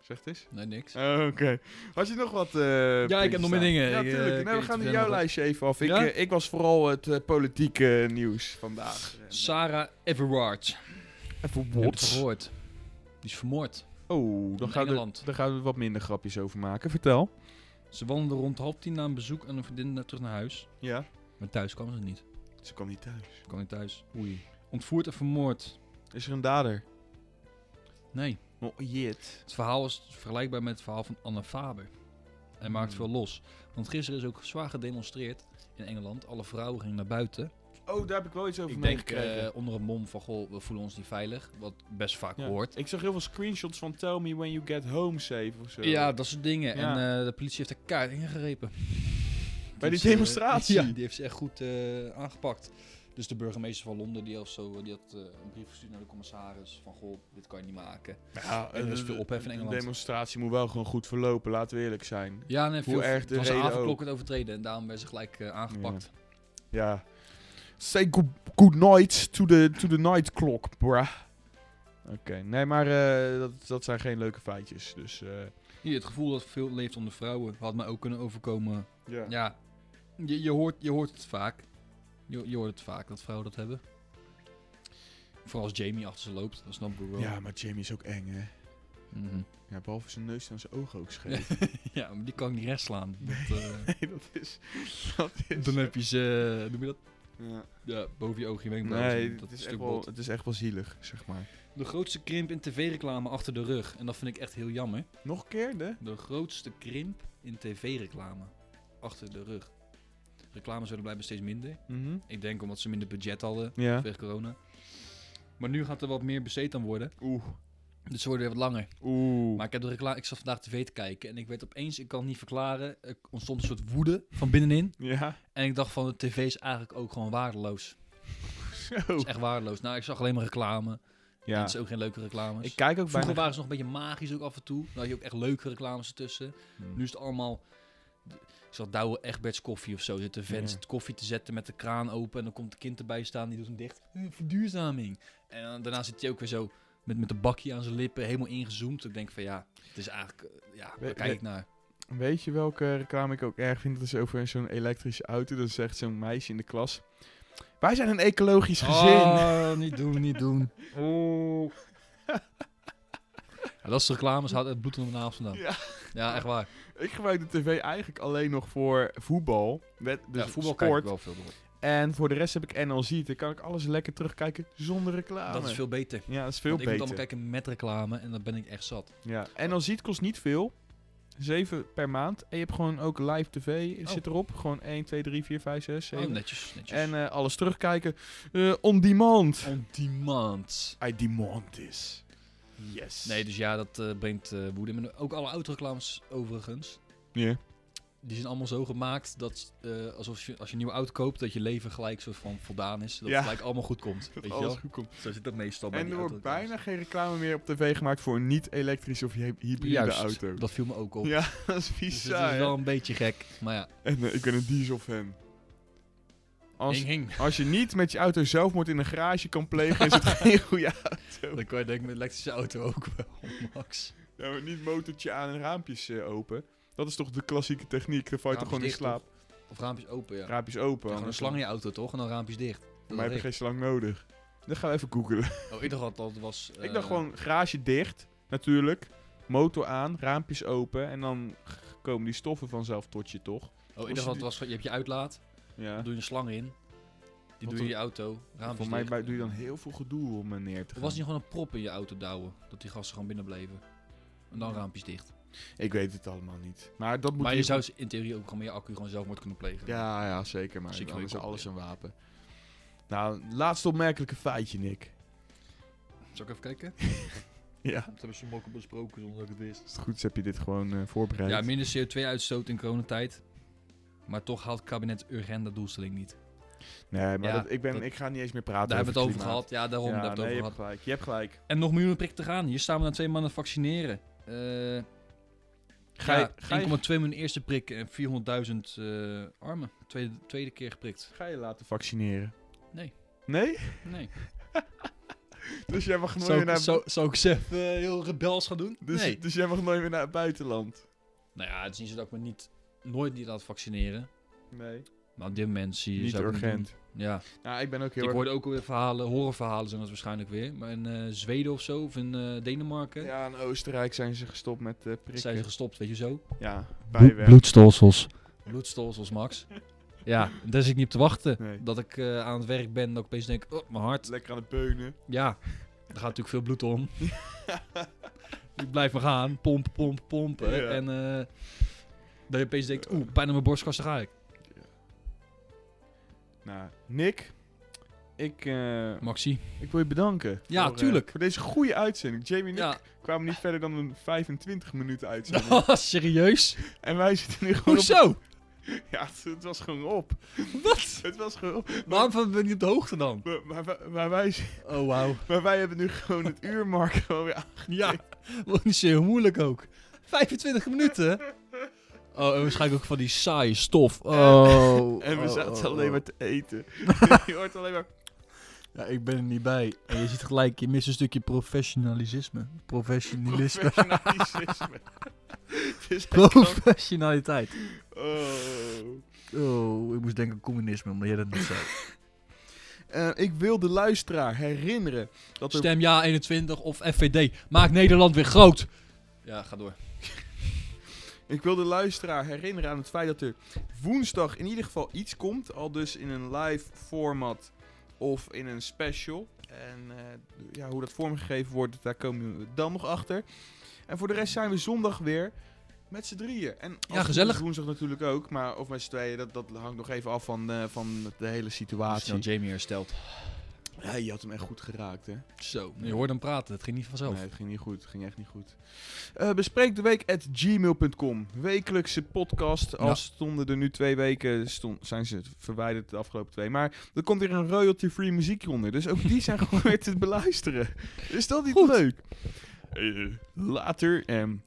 Zegt eens.
Nee, niks.
Oh, Oké. Had je nog wat? eh,
heb
puntjes
nog meer
staan?
dingen.
Ja,
Ik, eh,
tuurlijk.
ik
nou, we
weet
gaan nu
niet of jij
jouw
nog wat-
lijstje even af. Ik,
Ja?
eh, ik was vooral het eh, politieke nieuws vandaag. eh,
Sarah Everard. Heb
Even
je het
wat.
gehoord? Die is vermoord.
Oh, dan
In
gaan, we,
Engeland.
dan gaan we wat minder grapjes over maken. Vertel.
Ze wandelde rond half tien na een bezoek aan een vriendin naar- terug naar huis.
Ja.
Maar thuis kwam ze niet.
Ze kwam niet thuis.
Ze kwam niet thuis.
Oei.
Ontvoerd en vermoord.
Is er een dader?
Nee.
Oh, jit.
Het verhaal is vergelijkbaar met het verhaal van Anne Faber. Hij maakt
Hmm.
veel los. Want gisteren is ook zwaar gedemonstreerd in Engeland. Alle vrouwen gingen naar buiten.
Oh, daar heb ik wel iets over
Ik denk
meegekregen.
eh, onder een mom van, goh, we voelen ons niet veilig. Wat best vaak
Ja.
hoort.
Ik zag heel veel screenshots van Tell Me When You Get Home Save of zo.
Ja, dat soort dingen.
Ja.
En eh, de politie heeft er kaart ingegrepen.
Bij die
heeft ze-
demonstratie?
ja, die heeft ze echt goed eh, aangepakt. Dus de burgemeester van Londen, die, of zo, die had eh, een brief gestuurd naar de commissaris. Van, goh, dit kan je niet maken.
ja
en er is veel ophef in Engeland.
De demonstratie moet wel gewoon goed verlopen, laten we eerlijk zijn.
Ja, nee,
Hoe
veel,
erg de
het was een
reden
avondklok het overtreden. En daarom werd ze gelijk eh, aangepakt.
Ja. Say good, good night to the, to the night clock, bruh. Oké, nee, maar eh, dat, dat zijn geen leuke feitjes. Dus, eh,
Hier, het gevoel dat veel leeft onder vrouwen had mij ook kunnen overkomen.
ja.
Ja, je, je, hoort, je hoort het vaak. Je, je hoort het vaak dat vrouwen dat hebben. Vooral als Jamie achter ze loopt, dan snap ik ook wel.
ja, maar Jamie is ook eng, hè.
Mhm.
Ja, behalve zijn neus en zijn ogen ook scheef.
Ja, maar die kan ik niet recht slaan. Dat, eh,
nee, dat is... Dat is
dan heb je ze, eh, noem je dat?
ja.
Ja, boven je oog, je wenkbrauw.
Nee,
dat
het is,
stuk
echt wel,
bot.
het is echt wel zielig, zeg maar.
De grootste krimp in tv-reclame achter de rug. En dat vind ik echt heel jammer.
Nog een keer, de?
De grootste krimp in tv-reclame achter de rug. Reclames werden blijven steeds minder. Ik denk omdat ze minder budget hadden
Mhm. Ja.
vanwege corona. Maar nu gaat er wat meer besteed aan worden.
Oeh.
Dus ze worden weer wat langer.
Oeh.
Maar ik, heb de reclame, ik zat vandaag tv te kijken en ik werd opeens, ik kan het niet verklaren, er ontstond een soort woede van binnenin.
Ja.
En ik dacht van, de tv is eigenlijk ook gewoon waardeloos.
Zo.
Het is echt waardeloos. Nou, ik zag alleen maar reclame. Ja.
Ja.
Het is ook geen leuke reclames.
Ik kijk ook
Vroeger
bijna...
waren ze nog een beetje magisch ook af en toe. Dan had je ook echt leuke reclames ertussen.
Hmm.
Nu is het allemaal... Ik zag Douwe Egberts koffie of zo. Zit de vent
Ja.
zit koffie te zetten met de kraan open. En dan komt een kind erbij staan. Die doet hem dicht. Eh, Verduurzaming. En dan- daarna zit hij ook weer zo met, met een bakje aan zijn lippen. Helemaal ingezoomd. Ik denk van ja, het is eigenlijk... eh, Ja,
We-
waar kijk
we-
ik naar?
Weet je welke reclame ik ook erg vind? Dat is over zo'n elektrische auto. Dan zegt zo'n meisje in de klas... Wij zijn een ecologisch gezin.
Oh, niet doen, niet doen. Ja, dat is de reclames. Houdt het bloed onder mijn naels vandaan.
Ja.
ja, echt waar.
Ik gebruik de tv eigenlijk alleen nog voor voetbal. Wet, dus
ja, voetbal kijk
sport.
ik wel veel door.
En voor de rest heb ik NLZ. Dan kan ik alles lekker terugkijken zonder reclame.
Dat is veel beter.
Ja, dat is veel
Want ik moet
beter.
allemaal kijken met reclame en dan ben ik echt zat.
Ja, en dan ziet kost niet veel. 7 per maand. En je hebt gewoon ook live tv
Oh.
zit erop. Gewoon 1, 2, 3, 4, 5, 6, 7.
Oh, netjes, netjes.
en eh, alles terugkijken. Eh, on demand.
on demand.
I demand this. Yes.
Nee, dus ja, dat eh, brengt eh, woede. Maar ook alle autoreclames overigens.
Ja.
Die zijn allemaal zo gemaakt dat eh, alsof je, als je een nieuwe auto koopt, dat je leven gelijk soort van voldaan is. Dat
Ja.
het gelijk allemaal goed komt. weet je
Alles
wel?
goed komt.
Zo zit dat meestal bij
En
die
er wordt
autoreclames.
bijna geen reclame meer op tv gemaakt voor een niet-elektrische of hy- hybride
Juist,
auto.
dat viel me ook op.
Ja, dat is
dus het
bizar.
is
hè?
wel een beetje gek. Maar ja,
En eh, ik ben een diesel-fan. Als,
hing, hing.
als je niet met je auto zelfmoord in een garage kan plegen, is het geen goede auto.
Dan kan je denk ik met elektrische auto ook wel, Max.
Ja, maar niet motortje aan en raampjes eh, open. Dat is toch de klassieke techniek? Dan val je toch gewoon in
Raampjes dicht,
slaap.
toch? Of raampjes open, ja.
Raampjes open.
Ja, gewoon een
anders
slang in
dan-
je auto, toch? En dan raampjes dicht. Dat
Maar heb je
weet
geen slang nodig. Dan gaan we even googelen.
ik. Oh, ik dacht dat dat was...
ik
eh,
dacht gewoon garage dicht, natuurlijk. Motor aan, raampjes open. En dan g- komen die stoffen vanzelf tot je, toch?
Oh, ik dacht dat het was... van- Je hebt je uitlaat,
Ja.
dan doe je een slang in. Die
Wat
doe je
dan-
in je auto, raampjes
Voor mij
dicht.
bij- doe je dan heel veel gedoe om eh, neer te
Of
gaan.
was niet gewoon een prop in je auto douwen? Dat die gasten gewoon binnen bleven. En dan raampjes dicht.
Ik weet het allemaal niet. Maar dat moet
Maar je
hier-
zou ze in theorie ook gewoon met je accu gewoon zelfmoord kunnen plegen.
Ja, ja, zeker. Maar
Als je
dan is
knop
alles een wapen. Nou, laatste opmerkelijke feitje, Nick.
Zal ik even kijken?
Ja.
Dat hebben ze ook
dus
besproken zonder dat ik het wist.
Als het goed is, heb je dit gewoon eh, voorbereid.
Ja, minder CO2-uitstoot in coronatijd. Maar toch haalt het kabinet urgente doelstelling niet.
Nee, maar
Ja,
dat, ik, ben,
dat-
ik ga niet eens meer praten
Daar hebben we het over
klimaat.
gehad. Ja, daarom.
Ja,
daar hebben we
nee,
het
je
over
hebt
gehad.
gelijk. Je hebt gelijk.
En nog miljoenen prikken te gaan. Hier staan we na twee maanden vaccineren. Eh
Ga je,
ja,
ga, je,
1,2 miljoen eerste prik en 400.000 eh, armen. Tweede, tweede keer geprikt.
ga je laten vaccineren?
Nee.
Nee?
Nee.
Dus jij mag nooit
Zou
meer
ik,
naar...
zou, zou ik ze even eh, heel rebels gaan doen?
Dus,
nee.
dus jij mag nooit meer naar het buitenland?
Nou ja, het is niet zo dat ik me niet, nooit niet laat vaccineren.
Nee.
Maar op dit moment zie je...
Niet
zou ik het
urgent.
doen. Ja.
Nou, ik ben ook heel
Ik
erg...
hoorde ook weer verhalen, horrorverhalen zijn dat waarschijnlijk weer. Maar in eh, Zweden of zo, of in eh, Denemarken,
Ja, in Oostenrijk zijn ze gestopt met eh prikken.
zijn ze gestopt, weet je zo.
Ja, bijwerk.
bloedstolsels. Bloedstolsels, Max. Ja, daar zit ik niet op te wachten.
Nee.
Dat ik eh, aan het werk ben, dat ik opeens denk, oh, mijn hart.
Lekker aan het beunen.
Ja, er gaat natuurlijk veel bloed om. ik blijf maar gaan, pompen, pompen, pompen.
Ja.
En eh dat je opeens denkt, oeh, pijn aan mijn borstkas, daar ga ik.
Nou, Nick, ik, eh,
Maxi.
ik wil je bedanken.
Ja,
voor, eh,
tuurlijk.
voor deze goede uitzending. Jamie en ik
Ja,
kwamen niet verder dan een 25 minuten uitzending.
serieus?
en wij zitten nu gewoon op...
Hoezo?
Ja, het, het was gewoon op.
Wat?
Het was gewoon op.
Waarom ben ik niet op de hoogte dan?
Maar, maar, wij- maar wij,
Oh, wauw.
maar wij hebben nu gewoon het uurmark gewoon weer aan-
Ja, wordt niet zo heel moeilijk ook. 25 minuten? Oh, en waarschijnlijk ook van die saaie stof. Oh.
En we
oh,
zaten
oh,
alleen
oh.
maar te eten. je hoort alleen maar...
Ja, ik ben er niet bij. En je ziet gelijk, je mist een stukje professionalisme. Professionalisme.
Professionalisme. Het is echt gewoon-
Professionaliteit.
Oh.
Oh, ik moest denken communisme, omdat jij dat niet zei.
Eh, ik wil de luisteraar herinneren dat er...
Stem ja 21 of FVD. Maak Nederland weer groot. Ja, ga door.
Ik wil de luisteraar herinneren aan het feit dat er woensdag in ieder geval iets komt. Al dus in een live format of in een special. En eh, ja, hoe dat vormgegeven wordt, daar komen we dan nog achter. En voor de rest zijn we zondag weer met z'n drieën. En als het
gezellig.
is, Woensdag natuurlijk ook, maar of met z'n tweeën, dat, dat hangt nog even af van, eh, van de hele
Snel
situatie.
nou Jamie hersteld.
Ja, je had hem echt goed geraakt, hè?
Zo, je hoort hem praten. Het ging niet vanzelf.
Nee, het ging niet goed. Het ging echt niet goed. Eh, bespreek de week at gmail.com. Wekelijkse podcast. Al
Ja.
stonden er nu twee weken, stond, zijn ze verwijderd de afgelopen twee. Maar er komt weer een royalty-free muziek onder. Dus ook die zijn gewoon weer te beluisteren. Is dat niet leuk? Eh, later en...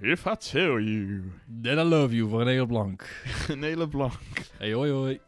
if I tell you.
Then I love you voor een hele blank.
Een hele blank.
Hey, hoi hoi.